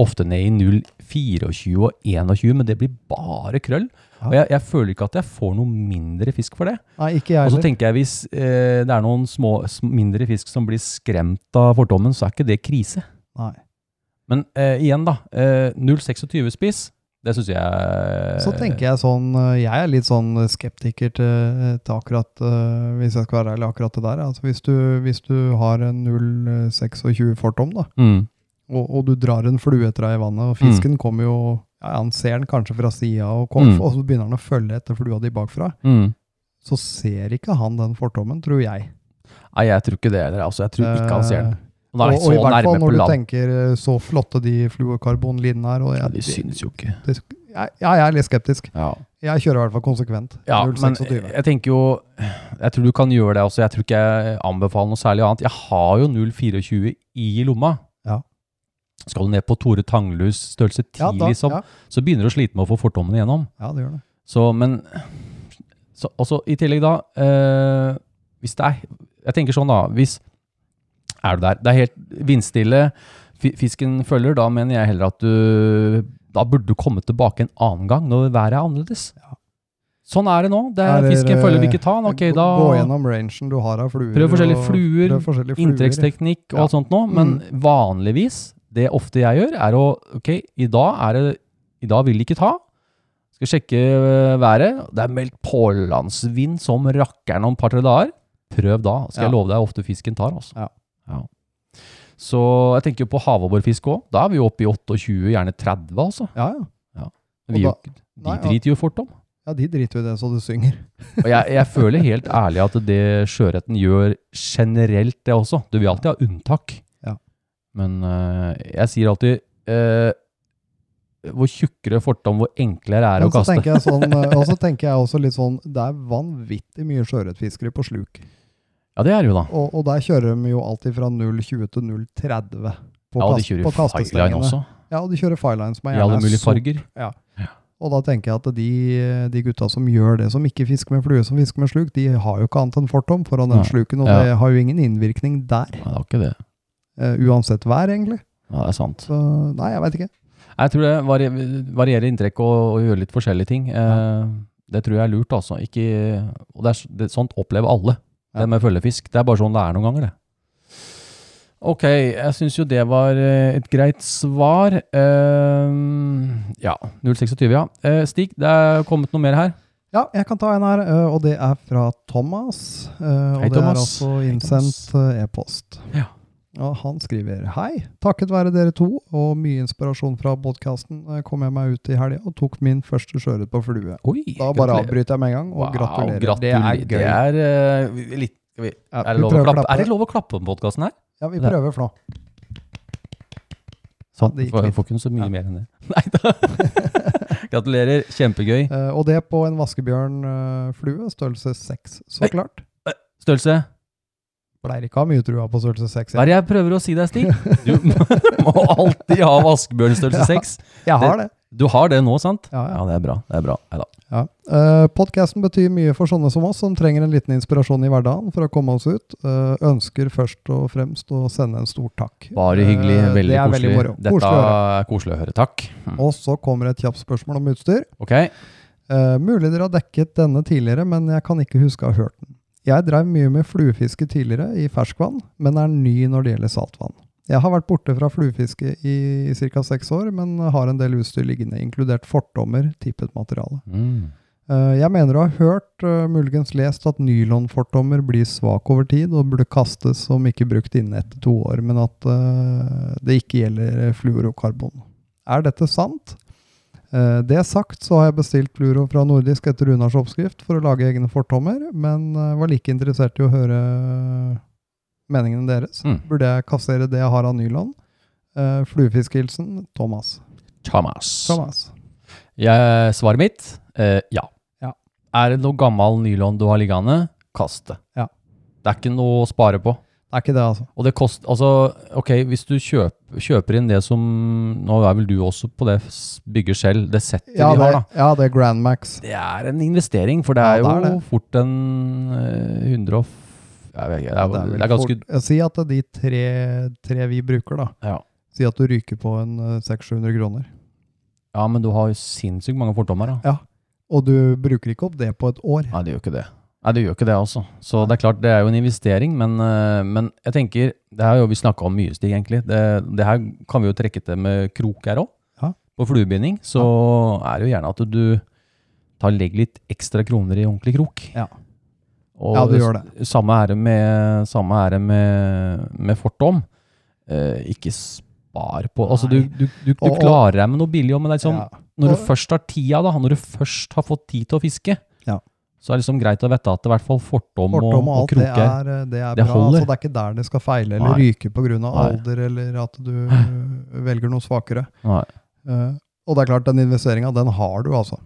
A: ofte ned i 0,24 og 21, men det blir bare krøll.
E: Ja.
A: Og jeg, jeg føler ikke at jeg får noe mindre fisk for det.
E: Nei, ikke jeg
A: Og så
E: heller.
A: tenker jeg hvis eh, det er noen små, sm- mindre fisk som blir skremt av fordommen, så er ikke det krise.
E: Nei.
A: Men eh, igjen, da. Eh, 0,26 spiss, det syns jeg
E: Så tenker jeg sånn eh, Jeg er litt sånn skeptiker til, til akkurat eh, Hvis jeg skal være ærlig, akkurat det der. Altså hvis, du, hvis du har en eh, 0,26 fortom, da,
A: Mm,
E: og, og du drar en flue etter deg i vannet, og fisken kommer jo ja, Han ser den kanskje fra sida, og, kom-
A: Mm.
E: og så begynner han å følge etter flua di bakfra.
A: mm.
E: Så ser ikke han den fortommen, tror jeg.
A: Nei, jeg tror ikke det heller. Altså, jeg tror ikke han ser den.
E: Eh,
A: Han er
E: og, og i
A: så
E: hvert fall
A: nærme på
E: når du
A: land.
E: tenker eh, så flotte de fluorkarbonlinene er. Og
A: Ja,
E: jeg,
A: de synes jo ikke.
E: det, jeg, jeg er litt skeptisk.
A: Ja.
E: Jeg kjører i hvert fall konsekvent.
A: Ja, men eh,
E: 0,26.
A: jeg tenker jo Jeg tror du kan gjøre det også. Jeg tror ikke jeg anbefaler noe særlig annet. Jeg har jo 0,24 i lomma.
E: Ja.
A: Skal du ned på Tore Tanglus størrelse 10,
E: Ja, da-
A: liksom,
E: ja.
A: så begynner du å slite med å få fortommen igjennom.
E: Ja, det gjør det.
A: Så, men så, også, I tillegg, da eh, Hvis det er Jeg tenker sånn, da. Hvis er du der. Det er helt vindstille. Fi- Fisken følger. Da mener jeg heller at du Da burde du komme tilbake en annen gang, når været er annerledes. Sånn er det nå. Det er,
E: Eller,
A: fisken følger, vil ikke ta den.
E: Gå-
A: Ok, da
E: Gå gjennom rangen du har av fluer.
A: Prøv forskjellige
E: og-
A: fluer,
E: prøv forskjellige fluer.
A: inntrekksteknikk og alt sånt nå. Men
E: Mm.
A: vanligvis, det ofte jeg gjør, er å Ok, i dag er det I dag vil det ikke ta. Skal sjekke øh, været. Det er meldt pålandsvind som rakkeren om et par-tre dager. Prøv da. Skal jeg
E: Ja.
A: love deg ofte fisken tar, altså.
E: Ja.
A: Ja. Så jeg tenker jo på havabborfiske òg. Da er vi jo oppe i 28, gjerne 30, altså.
E: Ja, ja.
A: Vi, er jo
E: Og
A: ikke-
E: nei,
A: de
E: ja.
A: driter jo fort om.
E: ja, de driter jo i det så du synger.
A: Og jeg, jeg føler helt ærlig at det sjøørreten gjør generelt, det også. Du vil alltid ha unntak.
E: Ja.
A: Men øh, jeg sier alltid øh, Hvor tjukkere fortom, hvor enklere er det
E: Men
A: å
E: så
A: kaste.
E: tenker jeg sånn, eh, og så tenker jeg også litt sånn, det er vanvittig mye sjøørretfiskere på sluk.
A: Ja, det er det jo da.
E: Og, og der kjører de jo alltid fra 0,20 til 0,30 på,
A: Ja, og de
E: kast-
A: kjører
E: på
A: jo fireline
E: kastestengene.
A: også,
E: Ja, og de kjører fireline som er
A: i alle
E: gjerne
A: mulige
E: sort.
A: farger.
E: Og da tenker jeg at de, de gutta som gjør det, som ikke fisker med flue, som fisker med sluk, de har jo ikke annet enn fortom foran den
A: Nei.
E: sluken, og
A: Ja.
E: det har jo ingen innvirkning der,
A: Nei, det var ikke det.
E: eh, uansett vær egentlig.
A: Ja, det er sant.
E: Så nei, jeg veit ikke.
A: Jeg tror det varie- varierer inntrekk og, og gjøre litt forskjellige ting. Eh, det tror jeg er lurt, altså. Ikke, og det er, s- det, sånt opplever alle,
E: Ja.
A: det med følgefisk. Det er bare sånn det er noen ganger, det. Ok, jeg syns jo det var eh, et greit svar. Eh, ja, 026, ja. Eh, Stig, det er kommet noe mer her.
E: Ja, jeg kan ta en her, eh, og det er fra Thomas. eh, Og
A: Hei,
E: det er
A: Thomas.
E: altså
A: Hei,
E: innsendt eh, e-post.
A: Ja.
E: Og han skriver Hei, takket være dere to og mye inspirasjon fra podkasten kom jeg meg ut i helga og tok min første sjøørret på flue.
A: Oi,
E: Da bare
A: gratulerer.
E: avbryter jeg med en gang, og
A: Wow,
E: gratulerer.
A: gratulerer.
E: Det er gøy.
A: Det er, eh, vi- litt, skal vi,
E: Ja,
A: er, det
E: vi
A: lov å
E: prøver å
A: klappe?
E: klappe.
A: er det lov å klappe på podkasten her?
E: Ja, vi
A: Det-
E: prøver flå.
A: Sånn,
E: det gikk
A: får,
E: litt.
A: får ikke så mye
E: Ja.
A: mer enn det. Nei da. Gratulerer, kjempegøy.
E: Eh, Og det på en vaskebjørnflue, størrelse seks, så
A: Hei.
E: klart.
A: Størrelse?
E: Pleier ikke å ha mye trua på størrelse seks.
A: Hva er det jeg prøver å si deg, Stig? Du må alltid ha vaskebjørnstørrelse 6.
E: Jeg har det.
A: Du har det nå, sant?
E: Ja, ja.
A: Ja, det er bra. Det er bra. Neida.
E: Ja. Eh, podcasten betyr mye for sånne som oss, som trenger en liten inspirasjon i hverdagen for å komme oss ut. Eh, ønsker først og fremst å sende en stor takk.
A: Bare hyggelig.
E: Eh,
A: Veldig
E: det er
A: koselig.
E: veldig moro.
A: Dette
E: Koselig å høre.
A: er koselig å høre. Takk. Mm.
E: Og så kommer et kjapt spørsmål om utstyr.
A: Ok.
E: Eh, mulig dere har dekket denne tidligere, men jeg kan ikke huske å ha hørt den. Jeg drev mye med fluefiske tidligere i ferskvann, men er ny når det gjelder saltvann. Jeg har vært borte fra fluefiske i ca. seks år, men har en del utstyr liggende, inkludert fortommer, tippet materiale.
A: Mm.
E: Eh, Jeg mener du har hørt, eh, muligens lest, at nylonfortommer blir svak over tid og burde kastes om ikke brukt innen ett til to år, men at eh, det ikke gjelder fluorokarbon. Er dette sant? Eh, Det sagt så har jeg bestilt fluoro fra Nordisk etter Runars oppskrift for å lage egne fortommer, men eh, var like interessert i å høre meningene deres.
A: Mm.
E: Burde jeg kassere det jeg har av nylon? Eh, Fluefiskehilsen Thomas.
A: Thomas.
E: Thomas.
A: Jeg, svaret mitt? Eh, ja.
E: Ja.
A: Er det noe gammel nylon du har liggende? Kast det.
E: Ja.
A: Det er ikke noe å spare på.
E: Det er ikke det, altså.
A: Og det kost, altså, ok, hvis du kjøp, kjøper inn det som, nå er vel du også på det s- bygger selv, det settet
E: Ja,
A: vi
E: det,
A: har da.
E: ja, det er Grand Max.
A: Det er en investering, for det er
E: Ja,
A: jo
E: det er det.
A: fort en eh, 100 og... f- Jeg vet ikke, det er,
E: Ja,
A: det
E: vel
A: er ganske...
E: fort- Jeg sier at de tre, tre vi bruker, da
A: Ja.
E: Si at du ryker på en eh, 600-700 kroner.
A: ja, men du har jo sinnssykt mange fordommer da.
E: Og du bruker ikke opp det på et år.
A: Nei, det gjør ikke det. Nei, det gjør ikke det altså. Så det er klart, det er jo en investering, men, eh, men jeg tenker, det her har jo vi snakket om mye, Stig, egentlig. Det, det her kan vi jo trekke til med krok her også.
E: Ja.
A: På fluebinding, så er det jo gjerne at du tar legg litt ekstra kroner i ordentlig krok.
E: Ja.
A: Og
E: Ja, du gjør
A: s- Samme er det med, samme er det med, med fortom. Eh, ikke spar på, altså du,
E: Nei.
A: du, du, du
E: Og- og-
A: klarer deg med noe billig, også, men det er liksom,
E: Ja.
A: når du
E: Og-
A: først har tida, da, når du først har fått tid til å fiske,
E: Ja.
A: så er det liksom greit å vite at det i hvert fall fortom, og,
E: Fortom og
A: og
E: alt, det
A: kroke er
E: er, eh, det er
A: Det
E: bra.
A: holder.
E: Altså, det er ikke der det skal feile eller
A: Nei.
E: ryke pga.
A: Nei.
E: alder, eller at du eh, velger noe svakere.
A: Nei.
E: Eh, og det er klart, den investeringa, den har du, altså.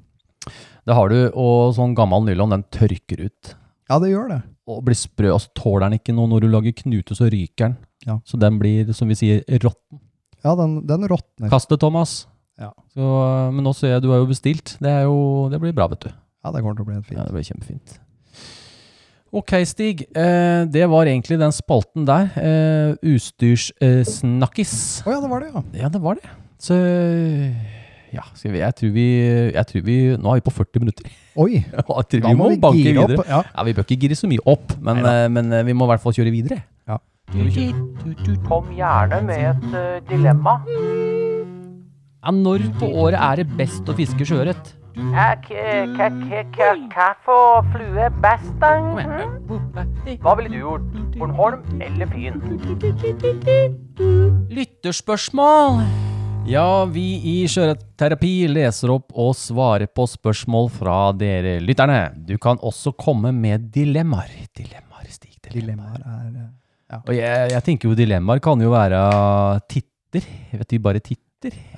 A: Det har du, og sånn gammel nylon, den tørker ut.
E: Ja, det gjør det.
A: Og blir sprø, altså tåler den ikke noe. Når du lager knute, så ryker den.
E: Ja.
A: Så den blir, som vi sier, rått.
E: Ja, den, den råtner.
A: Kaste, Thomas.
E: Ja.
A: Så, men nå ser jeg du har jo bestilt. Det, er jo, det blir bra, vet du.
E: Ja, det kommer til å bli helt fint.
A: Ja, det blir kjempefint. Ok, Stig. Eh, det var egentlig den spalten der. Eh, Utstyrssnakkis.
E: Å ja, det var det, ja.
A: ja, det var det. Så ja, skal vi, jeg, tror vi, jeg tror vi Nå er vi på 40 minutter.
E: Oi.
A: Jeg tror vi må, banke
E: gire
A: videre.
E: opp. Ja.
A: Ja, Vi bør ikke gire så mye opp, men, eh, men eh, vi må i hvert fall kjøre videre.
E: Ja.
B: Kom gjerne med et eh, dilemma.
A: Ja, når på året er det best å fiske sjøørret?
B: Kaffe og flue best, da? mhm. Hva ville du gjort? Bornholm eller Fyn?
A: Lytterspørsmål! Ja, vi i Sjøørretterapi leser opp og svarer på spørsmål fra dere lytterne. Du kan også komme med dilemmaer. Dilemmaer, Stig. Dilemmaer.
E: Dilemmaer er eh,
A: Og jeg, jeg tenker jo dilemmaer kan jo være titter. Jeg vet de bare titter.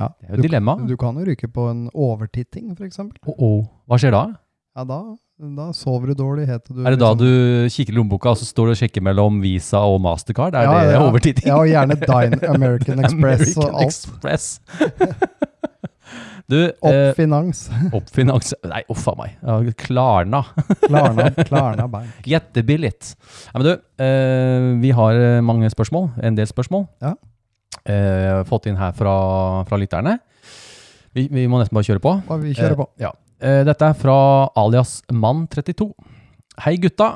E: ja.
A: Det er jo dilemma.
E: Du kan jo ryke på en overtitting, f.eks.
A: Oh, oh. Hva skjer da?
E: Ja, da, da sover du dårlig, heter du.
A: Er det da
E: liksom-
A: du kikker i lommeboka, og så står du og sjekker mellom Visa og Mastercard? Er det overtitting?
E: Ja, og gjerne Dine American Express og
A: American
E: alt.
A: Express. du, eh,
E: Opp finans.
A: Oppfinanse... Nei, uff a meg. Ja, Klarna.
E: Klarna, Klarna Bank.
A: Jettebillig. Nei, men du, eh, vi har eh, mange spørsmål. En del spørsmål.
E: Ja.
A: Eh, fått inn her fra, fra lytterne. Vi, vi må nesten bare kjøre på.
E: Hva vi kjører på.
A: Eh, ja. eh, dette er fra alias Mann32. Hei, gutta.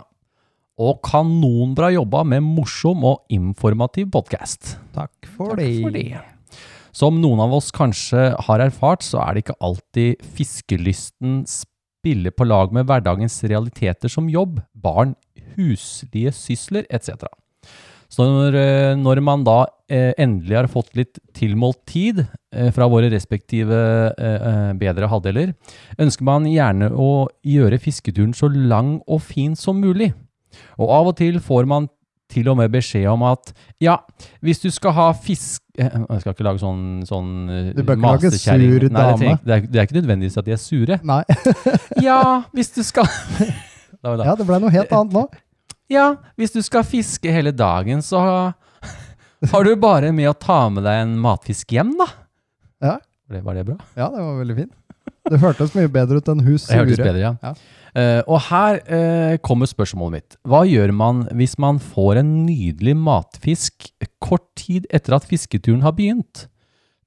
A: Og kanonbra jobba med morsom og informativ podkast.
E: Takk for
A: Takk for
E: det.
A: det. Som noen av oss kanskje har erfart, så er det ikke alltid fiskelysten spiller på lag med hverdagens realiteter som jobb, barn, huslige sysler etc. Så når, eh, når man da eh, endelig har fått litt tilmålt tid eh, fra våre respektive eh, eh, bedre halvdeler, ønsker man gjerne å gjøre fisketuren så lang og fin som mulig. Og av og til får man til og med beskjed om at ja, hvis du skal ha fisk... eh, Jeg skal ikke lage sånn, sånn eh,
E: Du bør ikke lage
A: masekjerring.
E: sur
A: Nei, det,
E: dame.
A: trenger- det, er, det er ikke nødvendigvis at de er sure.
E: Nei,
A: Ja, hvis du skal Da var det.
E: ja, det ble noe helt annet nå.
A: Ja, hvis du skal fiske hele dagen, så har du bare med å ta med deg en matfisk hjem, da.
E: Ja.
A: Var det- Var det bra?
E: Ja, det var veldig fint. Det hørtes mye bedre ut enn hus
A: Det hørtes
E: sure.
A: bedre, ja.
E: Ja.
A: Eh, og her eh, kommer spørsmålet mitt. Hva gjør man hvis man får en nydelig matfisk kort tid etter at fisketuren har begynt?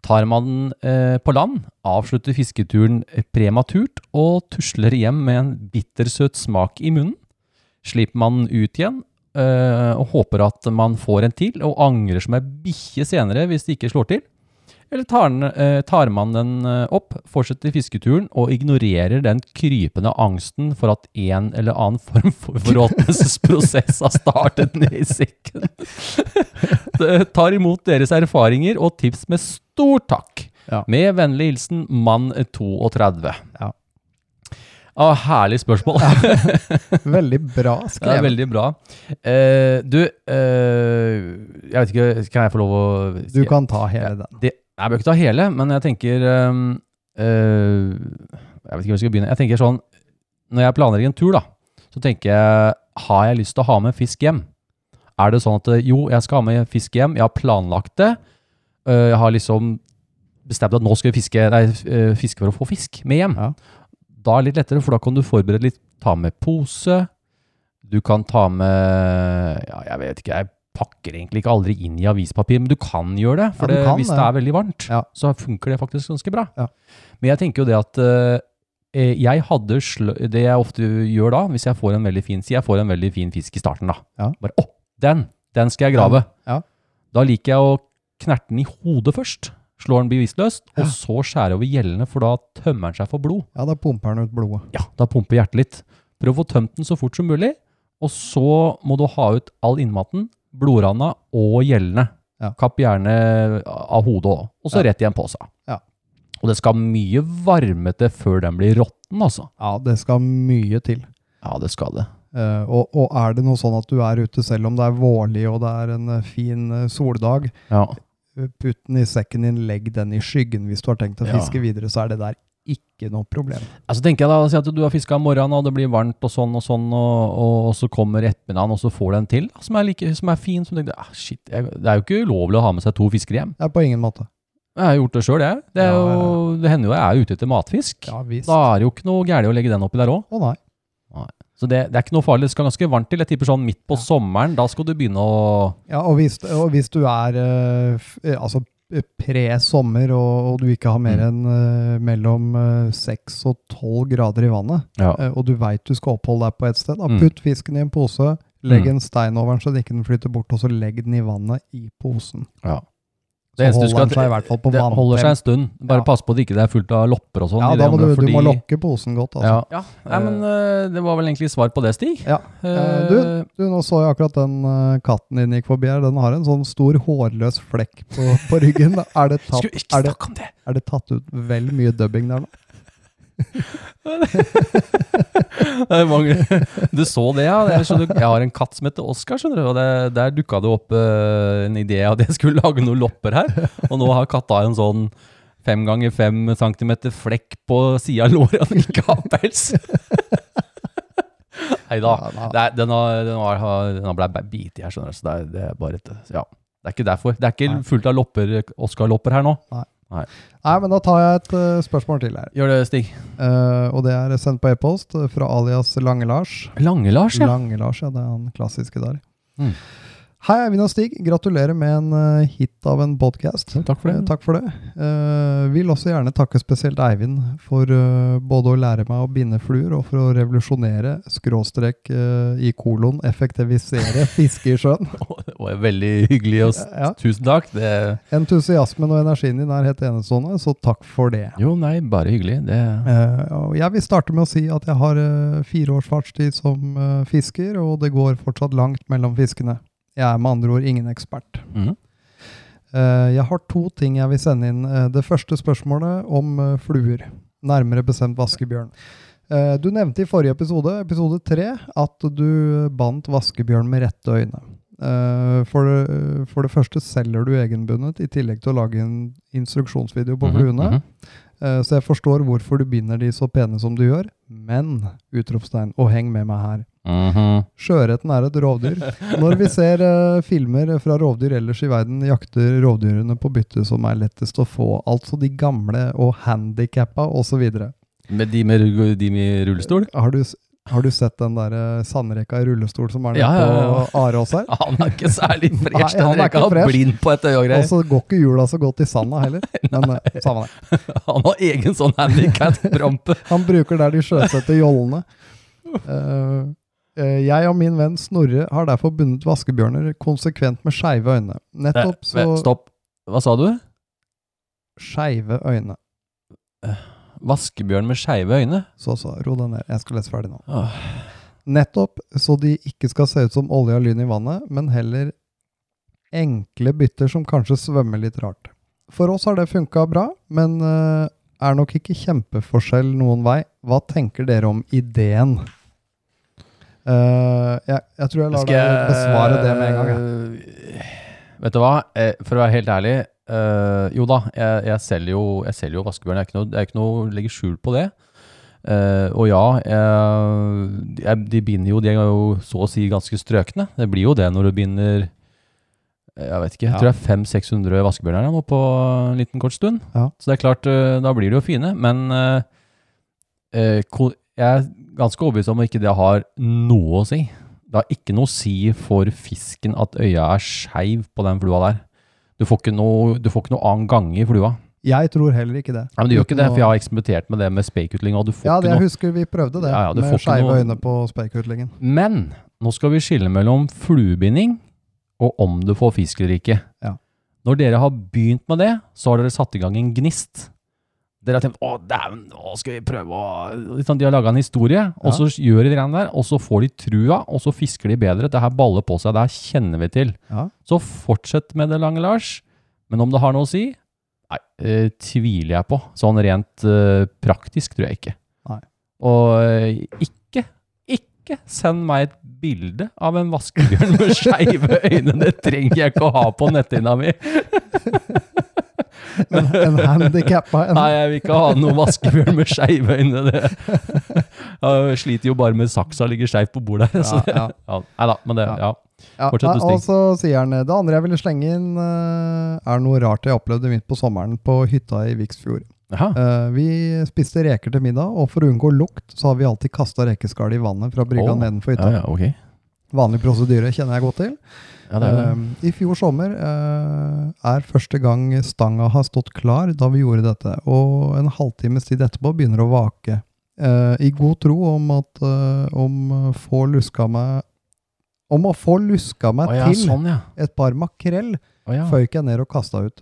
A: Tar man den eh, på land, avslutter fisketuren prematurt og tusler hjem med en bittersøt smak i munnen? Slipper man den ut igjen eh, og håper at man får en til, og angrer som ei bikkje senere hvis det ikke slår til? Eller tar, den, eh, tar man den eh, opp, fortsetter fisketuren og ignorerer den krypende angsten for at en eller annen form for forråtnelsesprosess har startet ned i sekken? Det tar imot deres erfaringer og tips med stor takk.
E: Ja.
A: Med vennlig hilsen mann 32.
E: Ja.
A: Ah, herlig spørsmål.
E: Veldig bra
A: Det er
E: skrevet.
A: veldig bra. Eh, du, eh, jeg vet ikke, kan jeg få lov å
E: Du kan ta hele den.
A: det, jeg bør ikke ta hele, men jeg tenker ehm, øhm, øh, Jeg vet ikke hvor jeg skal begynne. Jeg tenker sånn Når jeg planlegger en tur, da, så tenker jeg Har jeg lyst til å ha med fisk hjem? Er det sånn at øh, jo, jeg skal ha med fisk hjem, jeg har planlagt det. øh, jeg har liksom bestemt at nå skal vi fiske, nei, f- øh, fiske for å få fisk med hjem.
E: Ja.
A: Da er det litt lettere, for da kan du forberede litt. Ta med pose. Du kan ta med Ja, jeg vet ikke. Jeg pakker egentlig ikke aldri inn i avispapir, men du kan gjøre det.
E: Ja,
A: For
E: du
A: det,
E: kan
A: hvis
E: det.
A: det er veldig varmt,
E: Ja.
A: så funker det faktisk ganske bra.
E: Ja.
A: Men jeg tenker jo det at eh, jeg hadde slø Det jeg ofte gjør da, hvis jeg får en veldig fin Si jeg får en veldig fin fisk i starten, da.
E: Ja.
A: Bare å, den! Den skal jeg grave.
E: Ja.
A: Da liker jeg å knerte den i hodet først. Slår den bevisstløst,
E: Ja.
A: og så skjære over gjellene, for da tømmer den seg for blod.
E: Ja, da pumper den ut blodet.
A: Ja, da pumper hjertet litt. Prøv å få tømt den så fort som mulig, og så må du ha ut all innmaten, blodrana og gjellene.
E: Ja.
A: Kapp gjerne av hodet òg, og så
E: Ja.
A: rett i en pose.
E: Ja.
A: Og det skal mye varme til før den blir råtten, altså.
E: Ja, det skal mye til.
A: Ja, det skal det.
E: Eh, og, og er det noe sånn at du er ute selv om det er vårlig og det er en eh, fin eh, soldag,
A: Ja.
E: eh, putt den i sekken din, legg den i skyggen hvis du har tenkt å
A: Ja.
E: fiske videre, så er det der ikke noe problem.
A: Altså tenker jeg da, Si at du har fiska om morgenen, og det blir varmt og sånn og sånn, og, og, og så kommer ettermiddagen, og så får du en til da, som er, like, som er fin. Som du tenker, ah, shit, jeg, det er jo ikke ulovlig å ha med seg to fisker hjem.
E: Det er på ingen måte.
A: Jeg har gjort det sjøl, jeg. Det, er
E: Ja, ja,
A: jo, det hender jo jeg er ute etter matfisk.
E: Ja visst.
A: Da
E: Å
A: er det jo ikke noe gærent å legge den oppi der òg.
E: nei.
A: Så det, det er ikke noe farlig. Det skal ganske varmt til. Jeg tipper sånn midt på sommeren. Da skal du begynne å
E: Ja, og hvis, og hvis du er eh, f- eh, altså eh, pre-sommer og, og du ikke har mer
A: Mm.
E: enn eh, mellom eh, 6 og 12 grader i vannet,
A: Ja.
E: eh, og du veit du skal oppholde deg på et sted, da
A: Mm.
E: putt fisken i en pose, legg
A: Mm.
E: en stein over den så den ikke den flytter bort, og så legg den i vannet i posen.
A: Det
E: Så
A: eneste du
E: holder
A: skal-
E: den seg i hvert fall på
A: Det
E: vann.
A: holder seg en stund. Bare
E: Ja.
A: pass på at det ikke er fullt av lopper og sånn.
E: Ja,
A: i det
E: da må du,
A: området,
E: du må
A: fordi-
E: lokke posen godt. Altså.
A: Ja. Nei, men eh, det var vel egentlig svar på det, Stig.
E: Ja. Eh, du- Du, nå så jeg akkurat den eh, katten din gikk forbi her. Den har en sånn stor hårløs flekk på, på ryggen. Er det, tatt,
A: Skulle ikke
E: er, det,
A: snakke om det!
E: er det tatt ut vel mye dubbing der nå?
A: Det mangler- Du så det, ja. Jeg, skjønner, jeg har en katt som heter Oskar, skjønner du. Og det, der dukka det opp eh, en idé at jeg skulle lage noen lopper her. Og nå har katta en sånn fem ganger fem centimeter flekk på sida av låret og ikke har pels. Nei da.
E: Ja,
A: Det er- Den har, den har, har- den har blei bitt i her, skjønner du. Så det er, det er bare et Ja. Det er ikke derfor. Det er
E: Nei.
A: ikke fullt av lopper, Oskar-lopper her nå.
E: Nei, men da tar jeg et eh, spørsmål til her.
A: Gjør det, Stig.
E: Eh, og det er sendt på e-post eh, fra alias Lange-Lars.
A: Lange-Lars, ja.
E: Lange-Lars, ja. Det er han klassiske der.
A: Mm.
E: Hei, Eivind og Stig. Gratulerer med en eh, hit av en podkast.
A: Takk for det.
E: Takk for det. Eh, vil også gjerne takke spesielt Eivind for eh, både å lære meg å binde fluer og for å revolusjonere, skråstrek eh, i kolon, effektivisere fiske i sjøen.
A: Det var veldig hyggelig. Og s-
E: Ja.
A: Tusen takk. Det
E: Entusiasmen og energien din er helt enestående, så takk for det.
A: Jo, nei, bare hyggelig. Det
E: Eh, og jeg vil starte med å si at jeg har eh, fire års fartstid som eh, fisker, og det går fortsatt langt mellom fiskene. Jeg er med andre ord ingen ekspert.
A: Mhm.
E: Eh, jeg har to ting jeg vil sende inn. Eh, det første spørsmålet om eh, fluer, nærmere bestemt vaskebjørn. Eh, du nevnte i forrige episode, episode tre, at du bandt vaskebjørn med rette øyne. Eh, for, det, for det første selger du egenbundet, i tillegg til å lage en instruksjonsvideo på
A: Mhm,
E: fluene.
A: mhm.
E: Eh, Så jeg forstår hvorfor du binder de så pene som du gjør, men utropstegn, og heng med meg her.
A: Mhm.
E: Sjøørreten er et rovdyr. Når vi ser eh, filmer fra rovdyr ellers i verden, jakter rovdyrene på byttet som er lettest å få, altså de gamle og handikappa osv.
A: Med de med, rug- de med rullestol?
E: Har, du s- har du sett den der eh, sandrekka i rullestol som er nede
A: Ja, ja, ja.
E: på Arås her?
A: Han er ikke særlig fresh.
E: Nei, han
A: Den
E: er ikke
A: reka
E: fresh.
A: blind på et øye og
E: Og
A: greier.
E: så går ikke hjula så godt i sanda heller. Men eh, samme det.
A: Han har egen sånn handikap-rampe.
E: Han bruker der de sjøsetter jollene. Eh, eh, jeg og min venn Snorre har derfor bundet vaskebjørner konsekvent med skeive øyne. Nettopp så
A: Stopp. Hva sa du?
E: Skeive øyne.
A: Vaskebjørn med skeive øyne?
E: Så, så, ro deg ned. Jeg skal lese ferdig nå.
A: Åh.
E: Nettopp så de ikke skal se ut som olje og lyn i vannet, men heller enkle bytter som kanskje svømmer litt rart. For oss har det funka bra, men eh, er nok ikke kjempeforskjell noen vei. Hva tenker dere om ideen? Eh, jeg, jeg tror jeg lar
A: Skal jeg-
E: deg besvare det med en gang. jeg.
A: Vet du hva, Eh, for å være helt ærlig eh, Jo da, jeg, jeg, selger jo, jeg selger jo vaskebjørn. Det er ikke noe, det er ikke noe å legge skjul på det. Eh, og ja, jeg, jeg, de binder jo De er jo så å si ganske strøkne. Det blir jo det når du binder eh, Jeg vet ikke, jeg
E: Ja.
A: tror det er 500-600 vaskebjørner her nå på en liten kort stund.
E: Ja.
A: Så det er klart, eh, da blir de jo fine. Men eh, eh, ko- jeg er ganske overbevist om at ikke det har noe å si. Det har ikke noe å si for fisken at øya er skeiv på den flua der. Du får ikke noe, du får ikke noe annen gange i flua.
E: Jeg tror heller ikke det.
A: Nei, men du gjør ikke det,
E: Uten å-
A: for jeg har eksperimentert med det med speikutling, og du får
E: Ja,
A: ikke
E: det, jeg
A: noe.
E: husker vi prøvde det,
A: Ja, ja, du får
E: med
A: ikke
E: skeive
A: noe-
E: øyne på speikutlingen.
A: Men nå skal vi skille mellom fluebinding og om du får fisk eller ikke.
E: Ja.
A: Når dere har begynt med det, så har dere satt i gang en gnist. Dere har tenkt 'Å, dæven, nå skal vi prøve å Litt sånn, De har laga en historie, og så gjør de det greiene der, og så får de trua, og så fisker de bedre. Det her baller på seg, det her kjenner vi til.
E: Ja.
A: Så fortsett med det, Lange Lars. Men om det har noe å si? Nei, eh, tviler jeg på. Sånn rent eh, praktisk tror jeg ikke.
E: Nei.
A: Og eh, ikke, ikke send meg et bilde av en vaskebjørn med skeive øyne. Det trenger jeg ikke å ha på netthinna mi.
E: En, en handikappa en.
A: Nei, jeg vil ikke ha noen vaskebjørn med skeive øyne. Det. Jeg sliter jo bare med saksa ligger skeivt på bordet her. Så
E: Ja,
A: det,
E: ja.
A: ja, nei da, men det,
E: Ja.
A: ja.
E: Ja,
A: Fortsett, du,
E: nei, Og så sier han det andre jeg ville slenge inn, eh, er noe rart jeg opplevde midt på sommeren på hytta i Viksfjord.
A: Jaha.
E: Eh, vi spiste reker til middag, og for å unngå lukt så har vi alltid kasta rekeskallet i vannet fra brygga
A: Åh,
E: nedenfor hytta.
A: Ja, ja, ok.
E: Vanlig prosedyre kjenner jeg godt til.
A: Ja, det er jo det.
E: Eh, I fjor sommer eh, er første gang stanga har stått klar da vi gjorde dette, og en halvtimes tid etterpå begynner å vake. Eh, I god tro om at eh, om å få luska meg om å få luska meg
A: Å ja,
E: til
A: sånn, ja.
E: et par makrell,
A: Å ja.
E: føyk jeg ned og kasta ut.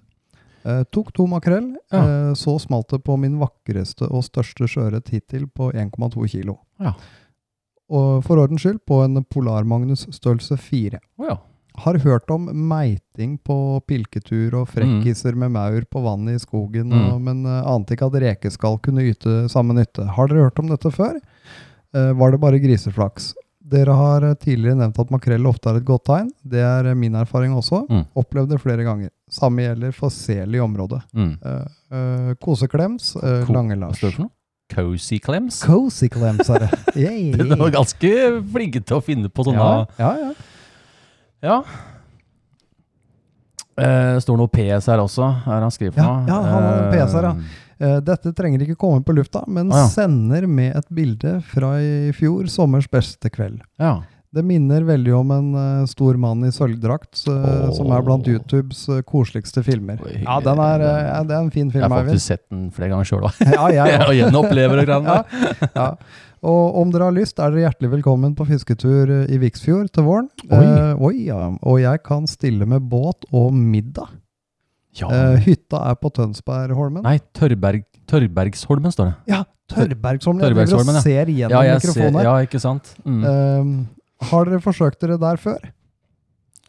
E: Eh, tok to makrell, eh, så smalt det på min vakreste og største sjøørret hittil på 1,2 kilo.
A: Ja.
E: Og for ordens skyld på en Polarmagnus størrelse 4.
A: Å ja.
E: Har hørt om meiting på pilketur og frekkiser
A: Mm.
E: med maur på vannet i skogen, og, men eh, ante ikke at rekeskall kunne yte samme nytte. Har dere hørt om dette før? Eh, var det bare griseflaks? Dere har eh, tidligere nevnt at makrell ofte er et godt tegn. Det er eh, min erfaring også.
A: Mm.
E: Opplevd det flere ganger. Samme gjelder for sel i området.
A: Mm.
E: Eh, eh, koseklems, eh,
A: Ko- Hva
E: Lange-Lars.
A: står det for noe? Cozy Clems?
E: Cozy klems, herre. Yay.
A: Du var ganske flinke til å finne på sånne.
E: ja, ja, ja.
A: Ja. Eh, det står noe PS her også, er han skriver for
E: Ja,
A: noe.
E: ja, han har en
A: Eh,
E: PS her, ja. Eh, Dette trenger ikke komme på lufta, men
A: Å, ja.
E: sender med et bilde fra i fjor sommers beste kveld.
A: ja.
E: Det minner veldig om en eh, stor mann i sølvdrakt, s-
A: Åh.
E: som er blant YouTubes eh, koseligste filmer.
A: Oi, hyggelig.
E: Ja, den er, eh, ja, det er en fin
A: Jeg
E: film,
A: har
E: Eivind.
A: faktisk sett den flere ganger sjøl òg.
E: Ja, jeg
A: Og
E: også.
A: gjenopplever og greiene
E: Ja,
A: der.
E: ja. Og om dere har lyst, er dere hjertelig velkommen på fisketur eh, i Viksfjord til våren.
A: Oi.
E: Eh, oi ja. Og jeg kan stille med båt og middag.
A: Ja.
E: Eh, hytta er på Tønsbergholmen.
A: Nei, Tørberg, Tørbergsholmen står det.
E: Ja, Tørbergsholmen. Jeg driver
A: Tørbergsholmen, ja.
E: og ser gjennom
A: Ja, jeg ser,
E: mikrofonen. her.
A: ja, ikke sant? Mm.
E: Um, har dere forsøkt dere der før?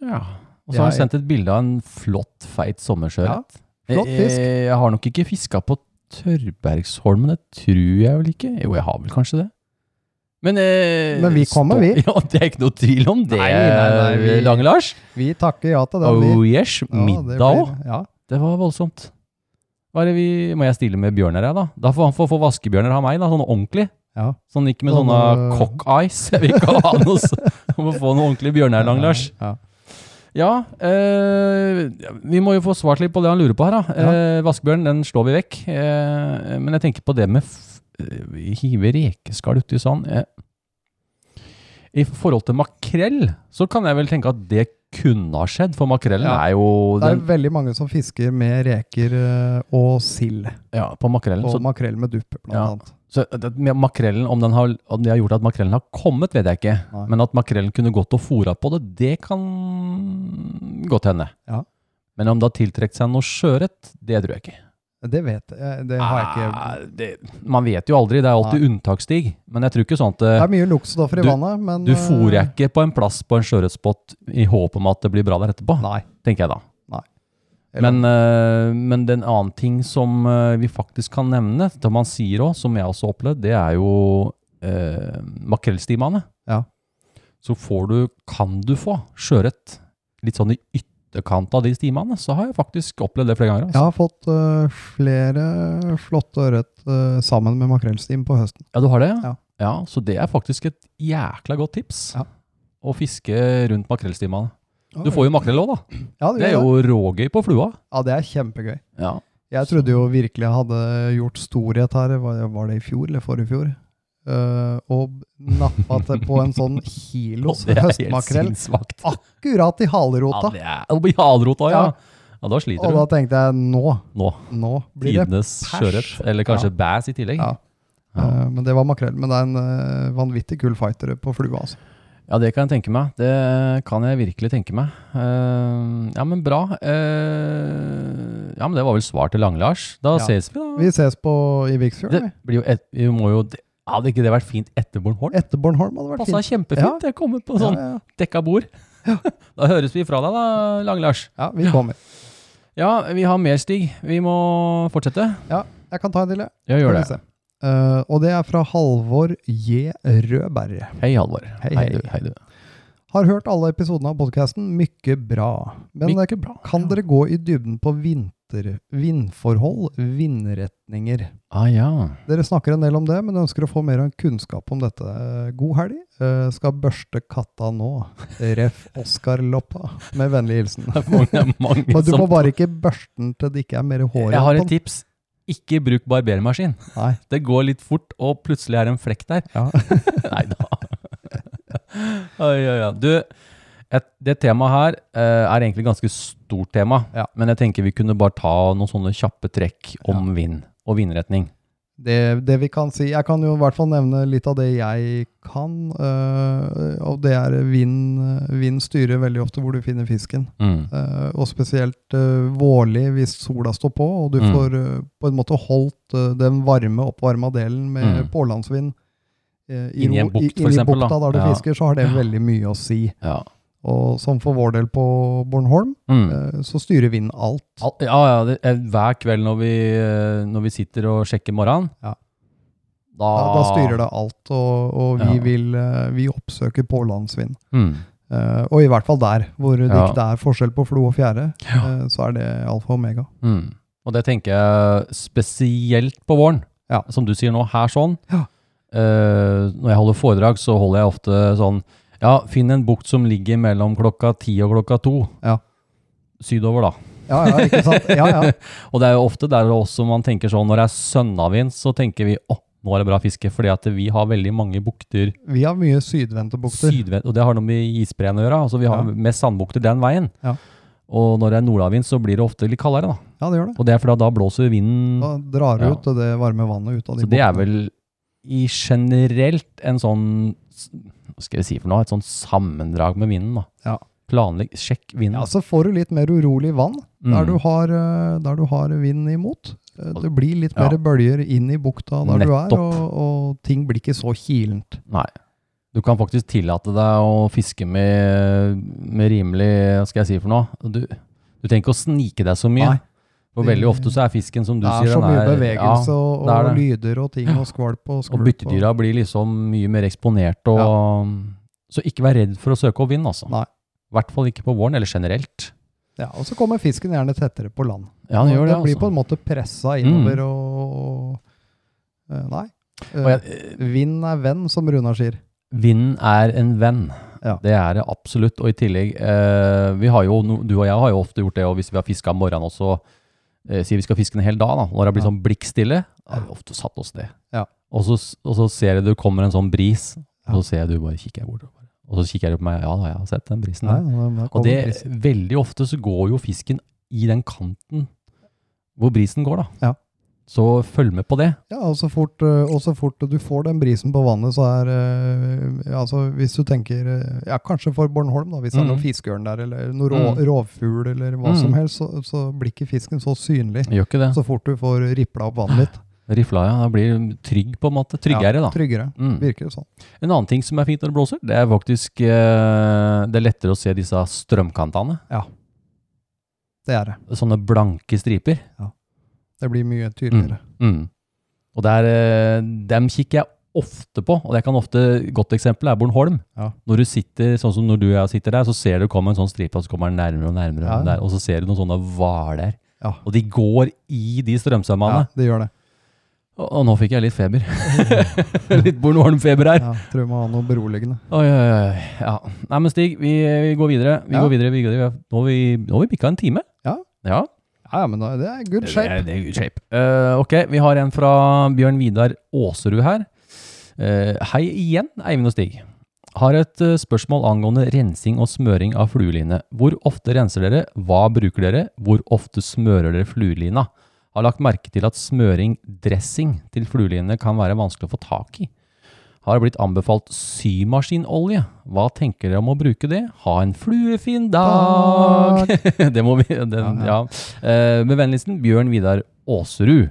A: Ja. Og så har
E: jeg-
A: jeg sendt et bilde av en flott, feit sommersjøørret.
E: flott fisk.
A: Jeg, jeg har nok ikke fiska på Tørbergsholmen, det tror jeg vel ikke. Jo, jeg har vel kanskje det. Men, eh,
E: Men vi kommer,
A: stå-
E: vi.
A: Ja, Det er ikke noe tvil om det,
E: Nei, nei, nei, vi-
A: Lange-Lars.
E: Vi takker ja til den. vi.
A: Oh yes,
E: Ja, det
A: middag
E: blir-
A: òg.
E: Ja.
A: Det var voldsomt. Hva er det vi, må jeg stille med bjørner, jeg, da? Da får han få, få vaskebjørner av meg, da, sånn ordentlig.
E: Ja.
A: Sånn ikke med
E: Sånn,
A: sånne
E: øh,
A: cock-eyes. Jeg vil ikke ha noe så- Jeg må få noen ordentlige bjørner, Lang Lars.
E: Ja.
A: Ja, eh, vi må jo få svart litt på det han lurer på her, da. Eh, vaskebjørn, den slår vi vekk. Eh, men jeg tenker på det med f eh, vi hiver rekeskall uti sånn. Eh, I forhold til makrell, så kan jeg vel tenke at det kunne ha skjedd, for makrellen
E: Ja.
A: er jo
E: Det er
A: den,
E: veldig mange som fisker med reker eh, og sild,
A: ja, På makrellen.
E: og
A: så
E: makrell med dupp, blant
A: Ja.
E: annet.
A: Så eh, det, med makrellen, om, den har, om det har gjort at makrellen har kommet, vet jeg ikke.
E: Nei.
A: Men at makrellen kunne gått og fôra på det, det kan godt hende.
E: Ja.
A: Men om det har tiltrukket seg noe sjøørret, det tror jeg ikke.
E: Det vet jeg, eh, det har jeg ikke.
A: Ah, det, man vet jo aldri, det er alltid unntaksstig. Men jeg tror ikke sånn at
E: Det
A: eh,
E: er mye luktstoffer i
A: Du-
E: vannet, men
A: du fôrer
E: eh,
A: ikke på en plass på en sjøørretspott i håp om at det blir bra der etterpå,
E: Nei.
A: tenker jeg da.
E: Eller-
A: Men, eh, men den annen ting som eh, vi faktisk kan nevne, som man sier òg, som jeg også har opplevd, det er jo eh, makrellstimene.
E: Ja.
A: Så får du, kan du få sjøørret litt sånn i ytterkant av de stimene. Så har jeg faktisk opplevd det flere ganger.
E: Jeg
A: Altså.
E: har fått eh, flere flotte ørret eh, sammen med makrellstim på høsten.
A: Ja. du har det?
E: Ja.
A: ja. Så det er faktisk et jækla godt tips.
E: Ja.
A: Å fiske rundt makrellstimene. Du får jo makrell òg, da.
E: ja, det,
A: Det er
E: gjør det.
A: jo rågøy på flua.
E: ja, det er kjempegøy.
A: Ja.
E: Jeg trodde jo virkelig jeg hadde gjort storhet her, var, var det i fjor eller forrige fjor? Eh, og nappa til på en sånn kilos
A: Det er helt
E: høstmakrell
A: sinnssvakt.
E: akkurat i halerota.
A: Ja, det er, i halrota, ja. ja, da sliter
E: og
A: du.
E: da tenkte jeg nå,
A: Nå.
E: nå blir det
A: Tidenes
E: pers.
A: sjøørret. Eller kanskje
E: Ja.
A: bass i tillegg.
E: Ja.
A: Ja.
E: Eh, Men det var makrell. Men det er en eh, vanvittig kul fighter på flua, altså.
A: det kan jeg tenke meg. Det kan jeg virkelig tenke meg. Eh, ja, men bra. Eh, ja, men det var vel svar til Lange-Lars. Da
E: Ja.
A: ses vi, da.
E: Vi ses på i Viksfjord.
A: det
E: vi.
A: blir jo et, vi må jo det- Hadde ikke det vært fint etter Bornholm?
E: Etter Bornholm hadde vært
A: Passa
E: fint. Ja.
A: kjempefint. Jeg kommer på
E: Ja,
A: sånn
E: ja, ja.
A: dekka bord. Da høres vi fra deg, da, Lange-Lars.
E: ja, vi kommer.
A: Ja, vi har mer, Stig. Vi må fortsette.
E: Ja, jeg kan ta en til, jeg.
A: Ja, gjør
E: Skal vi
A: det.
E: se. Eh, og det er fra Halvor J. Rødberg.
A: Hei, Halvor.
E: Hei, hei.
A: du. Hei, du.
E: Har hørt alle episodene av podkasten. Mykje bra. Men
A: Mykje
E: eh,
A: bra,
E: kan
A: ja.
E: dere gå i dybden på vinter, vindforhold, vindretninger?
A: Ah, ja.
E: Dere snakker en del om det, men ønsker å få mer kunnskap om dette. Eh, God helg. Eh, Skal børste katta nå. Ref. Oskar Loppa. Med vennlig hilsen.
A: Det er mange, mange
E: Men du
A: som
E: må bare ikke børste den til det ikke er mer hår
A: Jeg har
E: igjen
A: et
E: på den.
A: tips. Ikke bruk barbermaskin.
E: Nei.
A: Det går litt fort, og plutselig er det en flekk der.
E: Ja.
A: Nei da. Oi, oi, oi. Du, et, det temaet her eh, er egentlig ganske stort tema,
E: Ja.
A: men jeg tenker vi kunne bare ta noen sånne kjappe trekk om vind og vindretning.
E: Det, det vi kan si Jeg kan jo i hvert fall nevne litt av det jeg kan. øh, og det er vind. Vind styrer veldig ofte hvor du finner fisken.
A: Mm.
E: Eh, og spesielt eh, vårlig hvis sola står på, og du
A: Mm.
E: får eh, på en måte holdt eh, den varme, oppvarma delen med
A: Mm.
E: pålandsvind eh,
A: Inn i en
E: ro-
A: bukt, for
E: inn i
A: eksempel, da.
E: bukta der du
A: Ja.
E: fisker, så har det veldig mye å si.
A: Ja.
E: Og som for vår del på Bornholm,
A: Mm.
E: eh, så styrer vind alt.
A: Al- Ja, ja, det er hver kveld når vi, eh, når vi sitter og sjekker morgenen.
E: Ja.
A: Da,
E: Da, da styrer det alt, og, og vi,
A: Ah. Ja.
E: vil, eh, vi oppsøker pålandsvind.
A: Mm.
E: Eh, og i hvert fall der, hvor det
A: Ja.
E: ikke er forskjell på flo og fjære,
A: Ja.
E: eh, så er det alfa og omega.
A: Mm. Og det tenker jeg spesielt på våren.
E: Ja.
A: Som du sier nå, her sånn.
E: Ja.
A: Eh, når jeg holder foredrag, så holder jeg ofte sånn Ja, finn en bukt som ligger mellom klokka ti og klokka to.
E: Ja.
A: Sydover, da.
E: Ja, ja, ikke sant? Ja, ja.
A: Og det er jo ofte der også man tenker sånn Når det er sønnavind, så tenker vi å, nå er det bra fiske. Fordi at vi har veldig mange bukter
E: Vi har mye sydvendte bukter.
A: sydvendt, og det har noe med isbreen å gjøre. Altså vi har
E: Ja.
A: mest sandbukter den veien.
E: Ja.
A: Og når det er nordavind, så blir det ofte litt kaldere, da.
E: Ja, det gjør det.
A: Og det er fordi da blåser vinden
E: Da drar du
A: Mm. Ja.
E: ut det varme vannet ut av de
A: Så det er
E: buktene.
A: vel i generelt en sånn Hva skal vi si for noe? Et sånn sammendrag med vinden, da.
E: Ja.
A: Planlegg, sjekk vinden.
E: Ja, så får du litt mer urolig vann der,
A: Mm.
E: du har, eh, der du har vind imot. Eh, Det blir litt
A: Ja.
E: mer bølger inn i bukta der du
A: Nettopp.
E: er, og, og ting blir ikke så kilent.
A: Nei. Du kan faktisk tillate deg å fiske med, med rimelig Hva skal jeg si for noe? Du, du trenger ikke å snike deg så mye.
E: Nei.
A: For
E: Det-
A: veldig ofte så er fisken som du
E: Det er
A: sier,
E: så mye
A: den er
E: bevegelse og,
A: det er det.
E: og lyder og ting og skvalp og skvulp.
A: Og byttedyra blir liksom mye mer eksponert. Og, Så ikke vær redd for å søke opp vind, altså.
E: Nei.
A: I hvert fall ikke på våren, eller generelt.
E: Ja, og så kommer fisken gjerne tettere på land.
A: Ja, den gjør det,
E: blir på
A: altså. Mm.
E: en måte pressa innover og, og eh, Nei. Eh,
A: Og jeg,
E: Vind er venn, som Runar sier.
A: Vinden er en venn.
E: Ja.
A: Det er det absolutt. Og i tillegg, eh, vi har jo, no- du og jeg har jo ofte gjort det, og hvis vi har fiska om morgenen også, eh, sier vi skal fiske en hel dag, da, når det blir
E: Ja.
A: sånn blikkstille, da har vi ofte satt oss ned.
E: Ja.
A: Og, så, s- og så ser jeg det kommer en sånn bris, og så ser jeg du bare kikker jeg bort, og bare- og så kikker jeg på meg, ja da, jeg har sett den brisen
E: Nei,
A: der.
E: da- da
A: Og
E: kommer
A: det,
E: prisen.
A: veldig ofte så går jo fisken i den kanten hvor brisen går, da.
E: Ja.
A: Så følg med på det.
E: Ja, og så, fort, eh, og så fort du får den brisen på vannet, så er eh, Altså, hvis du tenker eh, Ja, kanskje for Bornholm, da, hvis det er
A: Mhm.
E: noen fiskeørn der, eller noen rå,
A: Mm.
E: rovfugl, eller hva
A: Mm.
E: som helst, så, så blir ikke fisken så synlig.
A: Gjør ikke det.
E: Så fort du får ripla opp vannet litt.
A: Rifla, ja. Da blir du trygg, på en måte. Tryggere, da.
E: Ja, tryggere.
A: Mm.
E: Virker det sånn.
A: En annen ting som er fint når det blåser, det er faktisk eh, det er lettere å se disse strømkantene.
E: Det er det.
A: Sånne blanke striper.
E: Det blir mye tydeligere.
A: Mm. Og der, eh, dem kikker jeg ofte på, og jeg kan ofte, godt eksempel er Bornholm.
E: Ja.
A: Når du sitter, sånn som når du og jeg sitter der, så ser du komme en sånn stripe, og så kommer den nærmere og nærmere,
E: Ja.
A: og der, og så ser du noen sånne hvaler.
E: Ja.
A: Og de går i de strømsømmene.
E: Ja, det gjør det.
A: Og, og nå fikk jeg litt feber. litt Bornholm-feber her.
E: Ja, tror jeg må ha noe beroligende.
A: Oi, oi, oi. Ja. Nei, men Stig, vi, vi går videre. Vi
E: Ja.
A: går videre, vi går videre. Nå har vi, nå har vi bikka en time.
E: Ja.
A: Ja,
E: Ja, ja, men da, det er good
A: det-
E: shape.
A: Det, det er good shape. Eh, ok, vi har en fra Bjørn Vidar Åserud her. Eh, hei igjen, Eivind og Stig. Har et eh, spørsmål angående rensing og smøring av flueline. Hvor ofte renser dere? Hva bruker dere? Hvor ofte smører dere fluelina? Har lagt merke til at smøring, dressing, til flueline kan være vanskelig å få tak i. Har blitt anbefalt symaskinolje. Hva tenker dere om å bruke det? Ha en fluefin dag! det må vi den, ja.
E: Ja,
A: Eh, med vennligsten Bjørn Vidar Åserud.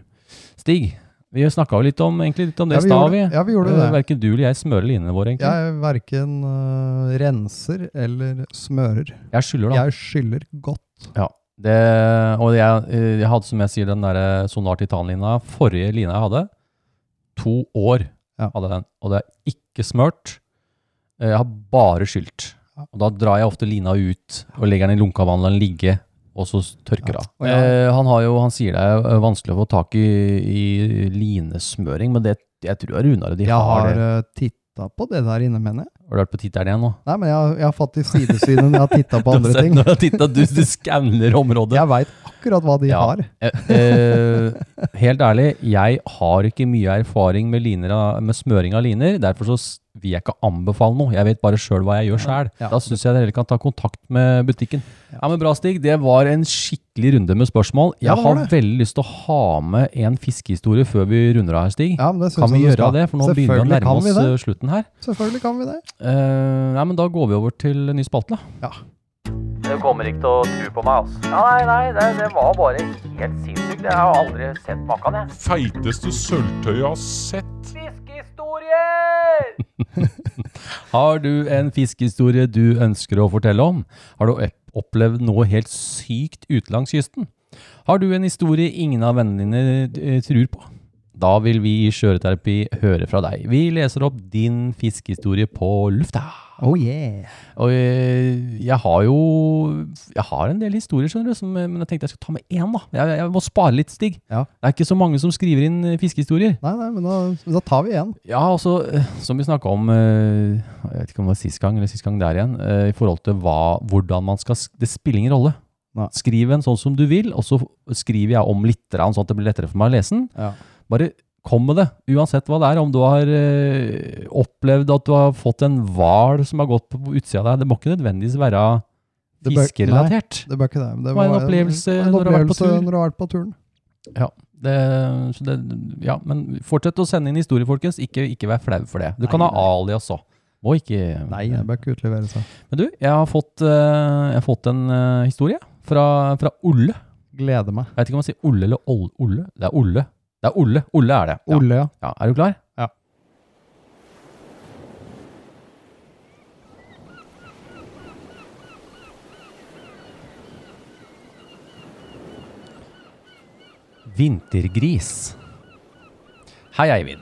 A: Stig, vi snakka jo litt om, egentlig litt om det i
E: vi
A: stad,
E: gjorde-
A: vi.
E: Ja, vi gjorde
A: Eh,
E: det.
A: Verken du eller jeg smører linene våre, egentlig.
E: Jeg verken øh, renser eller smører.
A: Jeg skylder, da.
E: Jeg skyller godt.
A: Ja. Det, og jeg, eh, jeg hadde, som jeg sier, den der eh, Sonar Titan-lina. Forrige lina jeg hadde, to år
E: Ja.
A: hadde jeg den. Og det er ikke smørt. Eh, Jeg har bare skylt.
E: Ja.
A: Og da drar jeg ofte lina ut og legger den i lunka vann, lar den ligge, og så s- tørker det av.
E: Og jeg-
A: Eh, han, har jo, han sier det er eh, vanskelig å få tak i, i linesmøring, men det, jeg tror Runar og de
E: Jeg
A: har,
E: har
A: det.
E: øh, titta titta på det der inne, mener jeg.
A: Har du vært på titteren igjen nå?
E: Nei, men jeg, har- jeg har fått i sidesynet når jeg har titta på andre ting.
A: Du, har sett- du, du skanner området.
E: Jeg veit akkurat hva de
A: Ja.
E: har.
A: Eh, eh, helt ærlig, jeg har ikke mye erfaring med, liner, av- med smøring av liner. Derfor så s- vil jeg ikke anbefale noe. Jeg vet bare sjøl hva jeg gjør sjøl.
E: Ja.
A: Da syns jeg dere heller kan ta kontakt med butikken. Ja, men Bra, Stig. Det var en skikkelig runde med spørsmål. Jeg
E: Ja, det var
A: har
E: det.
A: veldig lyst til å ha med en fiskehistorie før vi runder av, her, Stig.
E: Ja, men det synes
A: kan vi
E: jeg du
A: gjøre
E: skal.
A: det? For nå begynner vi å
E: Selvfølgelig
A: nærme
E: kan vi
A: oss
E: det.
A: eh, slutten her.
E: Selvfølgelig kan vi det.
A: Eh, nei, men Da går vi over til ny spalte. da.
B: Du kommer ikke til å tro på meg, altså. Ja, nei, nei, det, det var bare helt sinnssykt. Jeg har aldri sett maken, jeg.
C: Feiteste sølvtøyet jeg har sett.
B: Fiskehistorier!
A: Har du en fiskehistorie du ønsker å fortelle om? Har du opp- opplevd noe helt sykt ute langs kysten? Har du en historie ingen av vennene dine eh, tror på? Da vil vi i Skjøreterapi høre fra deg. Vi leser opp din fiskehistorie på lufta.
E: Oh yeah.
A: Og eh, jeg har jo Jeg har en del historier, skjønner du, som, eh, men jeg tenkte jeg skulle ta med én, da. Jeg, jeg må spare litt, Stig.
E: Ja.
A: Det er ikke så mange som skriver inn eh, fiskehistorier.
E: Nei, nei, men da, da tar vi en.
A: Ja, altså, eh, som vi snakka om eh, Jeg vet ikke om det var sist gang eller sist gang der igjen. eh, I forhold til hva, hvordan man skal sk- Det spiller ingen rolle.
E: Nei.
A: Skriv en sånn som du vil, og så f- skriver jeg om litt, grann, sånn at det blir lettere for meg å lese den.
E: Ja.
A: Bare kom med det, uansett hva det er. Om du har eh, opplevd at du har fått en hval som har gått på på utsida av deg, det må ikke nødvendigvis være
E: Det bør-
A: fiskerelatert.
E: Det bør ikke det. men Det
A: var en
E: bare-
A: opplevelse
E: det var en
A: når du har vært på
E: opplevelse
A: tur.
E: når du har vært på turen.
A: Det, så det, ja, men fortsett å sende inn historier, folkens. Ikke, ikke vær flau for det. Du kan
E: Nei,
A: ha alias òg. Må ikke
E: Nei, det bør ikke utlevere seg.
A: Men du, jeg har fått, eh, jeg har fått en eh, historie fra, fra Olle.
E: Gleder meg.
A: Jeg vet ikke om man sier Olle eller Olle. Olle. Det er Olle. Det er Olle. Olle er det. Ja.
E: Olle, ja.
A: Ja, er du klar?
E: Ja.
A: Vintergris. Hei, Eivind.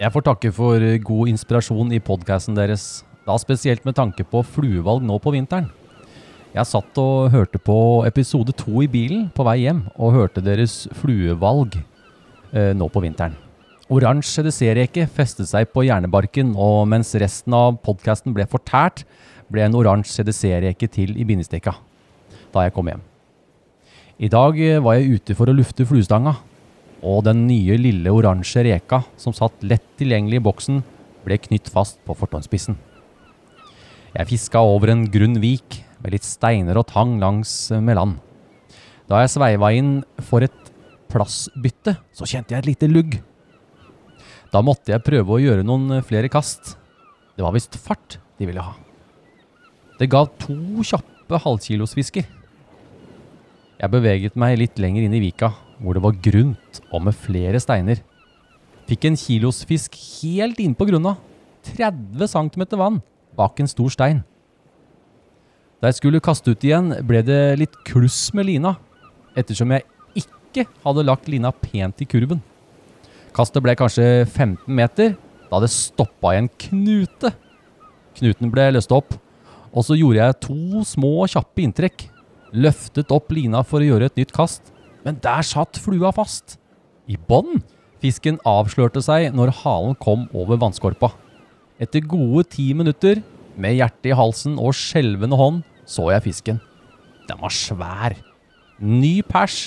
A: Jeg får takke for eh, god inspirasjon i podkasten deres. Da spesielt med tanke på fluevalg nå på vinteren. Jeg satt og hørte på episode to i bilen på vei hjem, og hørte deres fluevalg eh, nå på vinteren. Oransje reduserreke festet seg på hjernebarken, og mens resten av podkasten ble fortært, ble en oransje reduserreke til i bindestekka da jeg kom hjem. I dag eh, var jeg ute for å lufte fluestanga, og den nye lille oransje reka som satt lett tilgjengelig i boksen, ble knytt fast på fortånspissen. Jeg fiska over en grunn vik med litt steiner og tang langs eh, med land. Da jeg sveiva inn for et plassbytte, så kjente jeg et lite lugg. Da måtte jeg prøve å gjøre noen eh, flere kast. Det var visst fart de ville ha. Det ga to kjappe halvkilosfisker. Jeg beveget meg litt lenger inn i vika, hvor det var grunt og med flere steiner. Fikk en kilosfisk helt innpå grunna, 30 cm vann, bak en stor stein. Da jeg skulle kaste ut igjen, ble det litt kluss med lina, ettersom jeg ikke hadde lagt lina pent i kurven. Kastet ble kanskje 15 meter, da det stoppa i en knute. Knuten ble løst opp, og så gjorde jeg to små, kjappe inntrekk. Løftet opp lina for å gjøre et nytt kast, men der satt flua fast. I bånn! Fisken avslørte seg når halen kom over vannskorpa. Etter gode ti minutter, med hjertet i halsen og skjelvende hånd, så jeg fisken. Den var svær. Ny pers.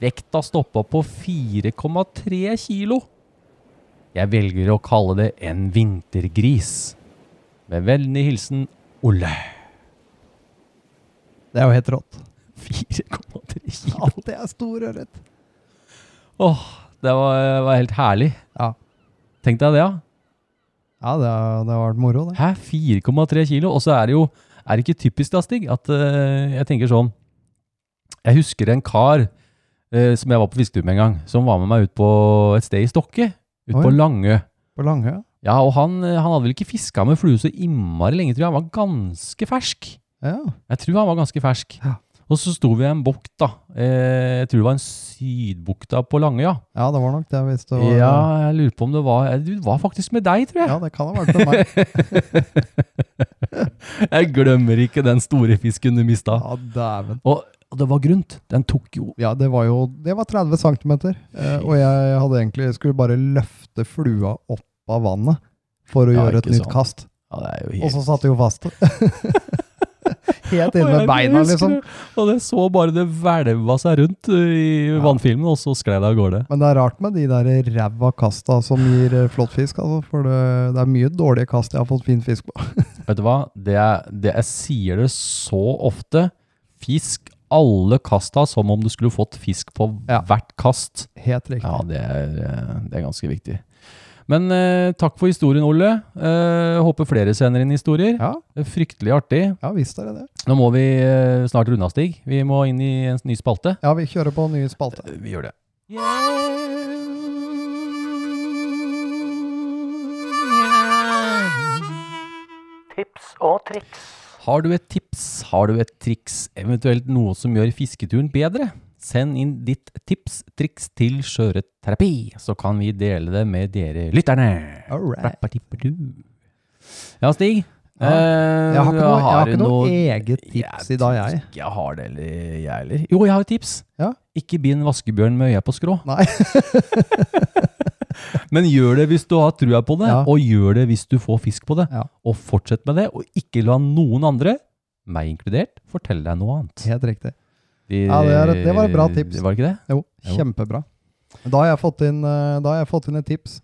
A: Vekta stoppa på 4,3 kilo. Jeg velger å kalle det en vintergris. Med vennlig hilsen Olle.
E: Det er jo helt rått.
A: 4,3 kilo.
E: Ja, det er stor ørret.
A: Åh, det var, var helt herlig.
E: Ja.
A: Tenk deg det, ja.
E: Ja, det har, det har vært moro, det.
A: Hæ, 4,3 kilo? Og så er det jo Er det ikke typisk da, Stig, at eh, jeg tenker sånn Jeg husker en kar eh, som jeg var på fisketur med en gang, som var med meg ut på et sted i Stokke. Ut
E: Oi.
A: på Langø.
E: På Langøya.
A: Ja, og han, eh, han hadde vel ikke fiska med flue så innmari lenge, tror jeg. Han var ganske fersk.
E: Ja.
A: Jeg tror han var ganske fersk.
E: Ja.
A: Og så sto vi i en bukt, da. Eh, jeg tror det var en sydbukta på Langøya.
E: ja, det var nok det hvis det var
A: Ja, jeg lurer på om det var Du var faktisk med deg, tror jeg.
E: Ja, det kan ha vært med meg.
A: Jeg glemmer ikke den store fisken du mista.
E: Ja, dæven.
A: Og, og det var grunt. Den tok jo
E: Ja, det var jo Det var eh, 30 cm, og jeg hadde egentlig skulle bare løfte flua opp av vannet for å
A: Ja,
E: gjøre et
A: ikke
E: nytt
A: sant.
E: kast.
A: Ja, det er jo
E: Og
A: helt
E: så satt de jo fast. Helt inn
A: Og
E: med
A: jeg
E: beina,
A: husker
E: liksom.
A: det. Og det så bare det hvelva seg rundt uh, i vannfilmen, og så sklei det av gårde.
E: Men det er rart med de der ræva kasta som gir eh, flott fisk, altså. For det, det er mye dårlige kast jeg har fått fin fisk på.
A: Vet du hva? Det er, det jeg sier det så ofte. Fisk alle kasta som om du skulle fått fisk på
E: Ja.
A: hvert kast.
E: Helt riktig.
A: Ja, det er, eh, det er ganske viktig. Men eh, takk for historien, Ole. Eh, håper flere sender inn historier.
E: Ja,
A: Det er Fryktelig artig.
E: ja visst er det det.
A: Nå må vi eh, snart runde av, Stig. Vi må inn i en ny spalte. Eh,
E: Ja, vi kjører på ny spalte.
A: Vi gjør det.
B: Tips og triks.
A: Har du et tips, har du et triks, eventuelt noe som gjør fisketuren bedre? Send inn ditt tips, triks til skjøreterapi, så kan vi dele det med dere lytterne.
E: All right.
A: Rappatipperdu. Ja, Stig.
E: Ja.
A: eh,
E: Jeg har ikke noe, jeg har
A: du
E: ikke noe eget tips i dag, jeg.
A: Ikke jeg har det, eller jeg heller. Jo, jeg har et tips.
E: Ja.
A: Ikke bind vaskebjørn med øya på skrå.
E: Nei.
A: Men gjør det hvis du har trua på det,
E: Ja.
A: og gjør det hvis du får fisk på det.
E: Ja.
A: Og fortsett med det, og ikke la noen andre, meg inkludert, fortelle deg noe annet.
E: Helt riktig.
A: Vi-
E: Ja, det er et- det var et bra tips.
A: Var det ikke det?
E: Jo,
A: Jo.
E: kjempebra. Da har jeg fått inn, eh, da har jeg fått inn et tips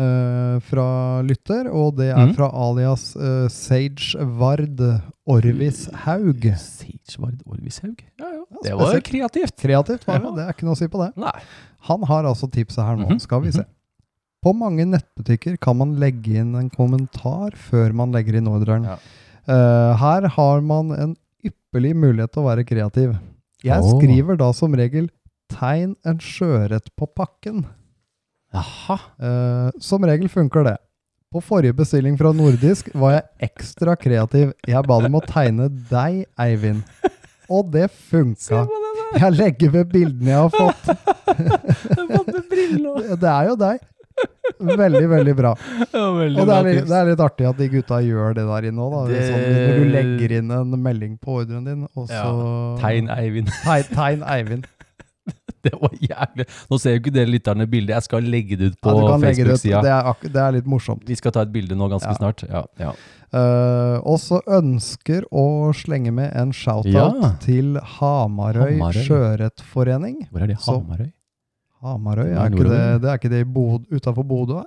E: eh, fra lytter, og det er
A: Mhm.
E: fra alias eh, Sage Vard Orvis Haug.
A: Seitsvard Orvishaug. Ja, ja.
E: Ja,
A: Det var
E: spesielt.
A: kreativt.
E: Kreativt var det,
A: Ja.
E: det er ikke noe å si på det.
A: Nei.
E: Han har altså tipset her nå,
A: Mhm,
E: skal vi se. På mange nettbutikker kan man legge inn en kommentar før man legger inn ordren.
A: Ja.
E: Eh, her har man en ypperlig mulighet til å være kreativ. Jeg
A: Åh.
E: skriver da som regel 'tegn en sjøørret på pakken'.
A: Jaha.
E: Eh, som regel funker det. På forrige bestilling fra Nordisk var jeg ekstra kreativ. Jeg ba dem å tegne deg, Eivind. Og det funka. Jeg legger ved bildene jeg har fått. Det er jo deg. Veldig, veldig bra. Og det er, litt, det er litt artig at de gutta gjør det der inne òg, da.
A: Det-
E: Sånn, når du legger inn en melding på ordren din, og så
A: Tegn Eivind.
E: Tegn, tegn Eivind.
A: Det var jævlig. Nå ser jo ikke dere lytterne bildet. Jeg skal legge det ut
E: Ja,
A: på
E: du kan legge det ut.
A: Facebook-sida.
E: Det er, akku- det er litt morsomt.
A: Vi skal ta et bilde nå ganske
E: Ja.
A: snart. Ja, ja.
E: Uh, og så ønsker å slenge med en shoutout
A: Ja.
E: til Hamarøy,
A: Hamarøy.
E: Sjøørretforening.
A: Hvor er det?
E: Så-
A: Hamarøy?
E: Hamarøy,
A: Det er
E: er ikke det,
A: nordover.
E: det er ikke det i Bod- utenfor Bodø?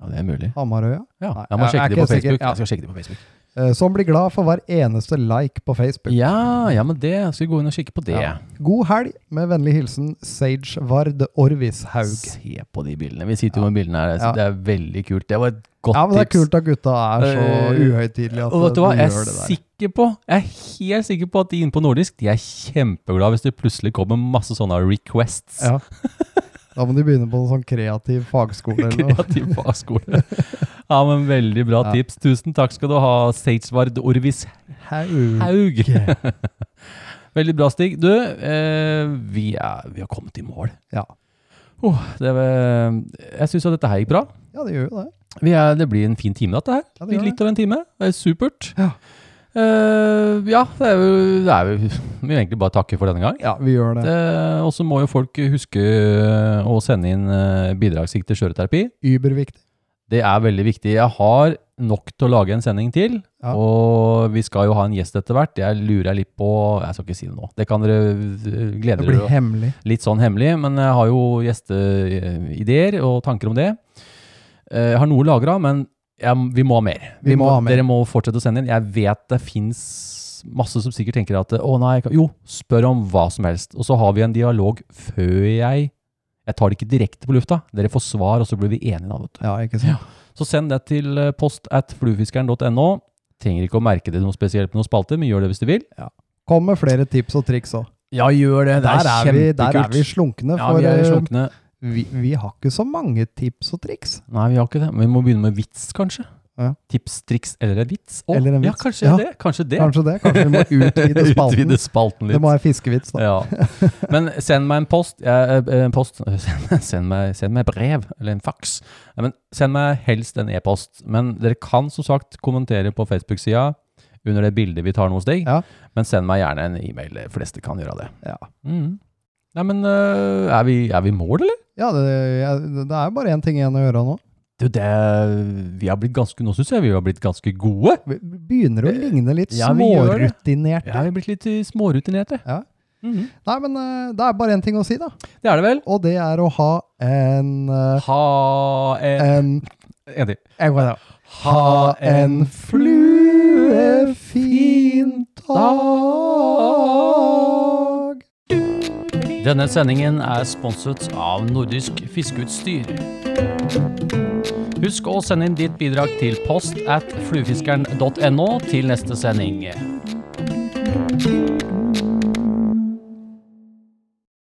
A: Ja, det er mulig.
E: Hamarøya?
A: Ja,
E: Nei,
A: jeg må
E: jeg- jeg
A: sjekke
E: er
A: det på
E: ikke sikker.
A: Facebook.
E: Ja.
A: Jeg skal sjekke det på Facebook.
E: Uh, som blir glad for hver eneste like på Facebook.
A: Ja, ja, men det skal vi gå inn og kikke på det.
E: Ja. God helg, med vennlig hilsen Sage Vard Orvis Haug.
A: Se på de bildene. Vi sitter jo med bildene her.
E: Ja.
A: Det er veldig kult. Det var et godt
E: Ja, men det er
A: tips.
E: kult at gutta er så
A: Eh,
E: uhøytidelige at
A: Og vet du
E: du
A: hva,
E: gjør
A: jeg
E: det
A: er
E: der.
A: sikker på Jeg er helt sikker på at de inne på Nordisk De er kjempeglade hvis det plutselig kommer masse sånne requests
E: Ja. Da må de begynne på en sånn kreativ fagskole eller noe.
A: Kreativ fagskole Ja, men veldig bra
E: Ja.
A: tips Tusen takk skal du ha, Seidsvard Orvis
E: Haug.
A: Haug Veldig bra, Stig Du, eh, vi, er, vi har kommet i mål
E: Ja.
A: Åh, det, var- Jeg synes at dette her gikk bra
E: ja, det gjør jo det.
A: Vi er, det blir en fin time, dette her.
E: Ja, det gjør
A: Litt litt over en time. Det er supert.
E: Ja.
A: Eh, ja, det er jo, det er jo Vi vil egentlig bare takke for denne gang.
E: Ja, vi gjør det.
A: Eh, og så må jo folk huske eh, å sende inn eh, bidragsgikk til skjøreterapi.
E: Überviktig.
A: Det er veldig viktig. Jeg har nok til å lage en sending til.
E: Ja.
A: Og vi skal jo ha en gjest etter hvert. Jeg lurer litt på Jeg skal ikke si det nå. Det kan dere eh, glede dere
E: Det blir hemmelig.
A: litt sånn hemmelig, men jeg har jo gjesteideer og tanker om det. Eh, Jeg har noe lagra, men jeg, vi må ha mer.
E: Vi må ha mer.
A: Dere må fortsette å sende inn. Jeg vet det fins masse som sikkert tenker at å nei, jeg kan-" jo, spør om hva som helst. Og så har vi en dialog før jeg Jeg tar det ikke direkte på lufta. Dere får svar, og så blir vi enige da, vet du.
E: Ja, ikke sant?
A: Så send det til eh, post at fluefiskeren.no. Trenger ikke å merke det noe spesielt på noen spalter, men gjør det hvis du vil.
E: Kom med flere tips og triks òg.
A: Ja, gjør det.
E: Der, er vi- der er vi slunkne,
A: ja,
E: for
A: vi er
E: eh,
A: slunkne.
E: vi, vi har ikke så mange tips og triks.
A: Nei, vi har ikke det. Men vi må begynne med vits, kanskje.
E: Ja.
A: Tips, triks eller en vits. Å,
E: Eller en
A: Ja,
E: vits.
A: kanskje
E: Ja.
A: det. Kanskje det.
E: Kanskje det. Kanskje vi må utvide spalten.
A: Utvide spalten
E: Det
A: litt.
E: må være fiskevits, da.
A: ja. Men send meg en post. Jeg, eh, en post. Send, send, meg, send meg brev, eller en fax. Nei, men send meg helst en e-post. Men dere kan som sagt kommentere på Facebook-sida under det bildet vi tar nå hos deg.
E: Ja.
A: Men send meg gjerne en e-mail. De fleste kan gjøre det.
E: Ja.
A: Mm. Nei, men eh, er vi, er vi i mål, eller?
E: Ja, det, jeg- det er jo bare én ting igjen å gjøre nå.
A: Du, det Vi har blitt ganske Nå syns jeg vi har blitt ganske gode.
E: Vi begynner å ligne litt
A: Ja, vi gjør det.
E: smårutinerte.
A: Ja, vi har blitt litt eh, smårutinerte.
E: Ja.
A: Mhm.
E: Nei, men eh, det er bare én ting å si, da.
A: Det er det vel.
E: Og det er å ha en eh,
A: Ha en
E: En
A: En til.
E: jeg går da.
A: Ha en fluefin dag. Denne sendingen er sponset av Nordisk Fiskeutstyr. Husk å sende inn ditt bidrag til post at fluefiskeren.no til neste sending.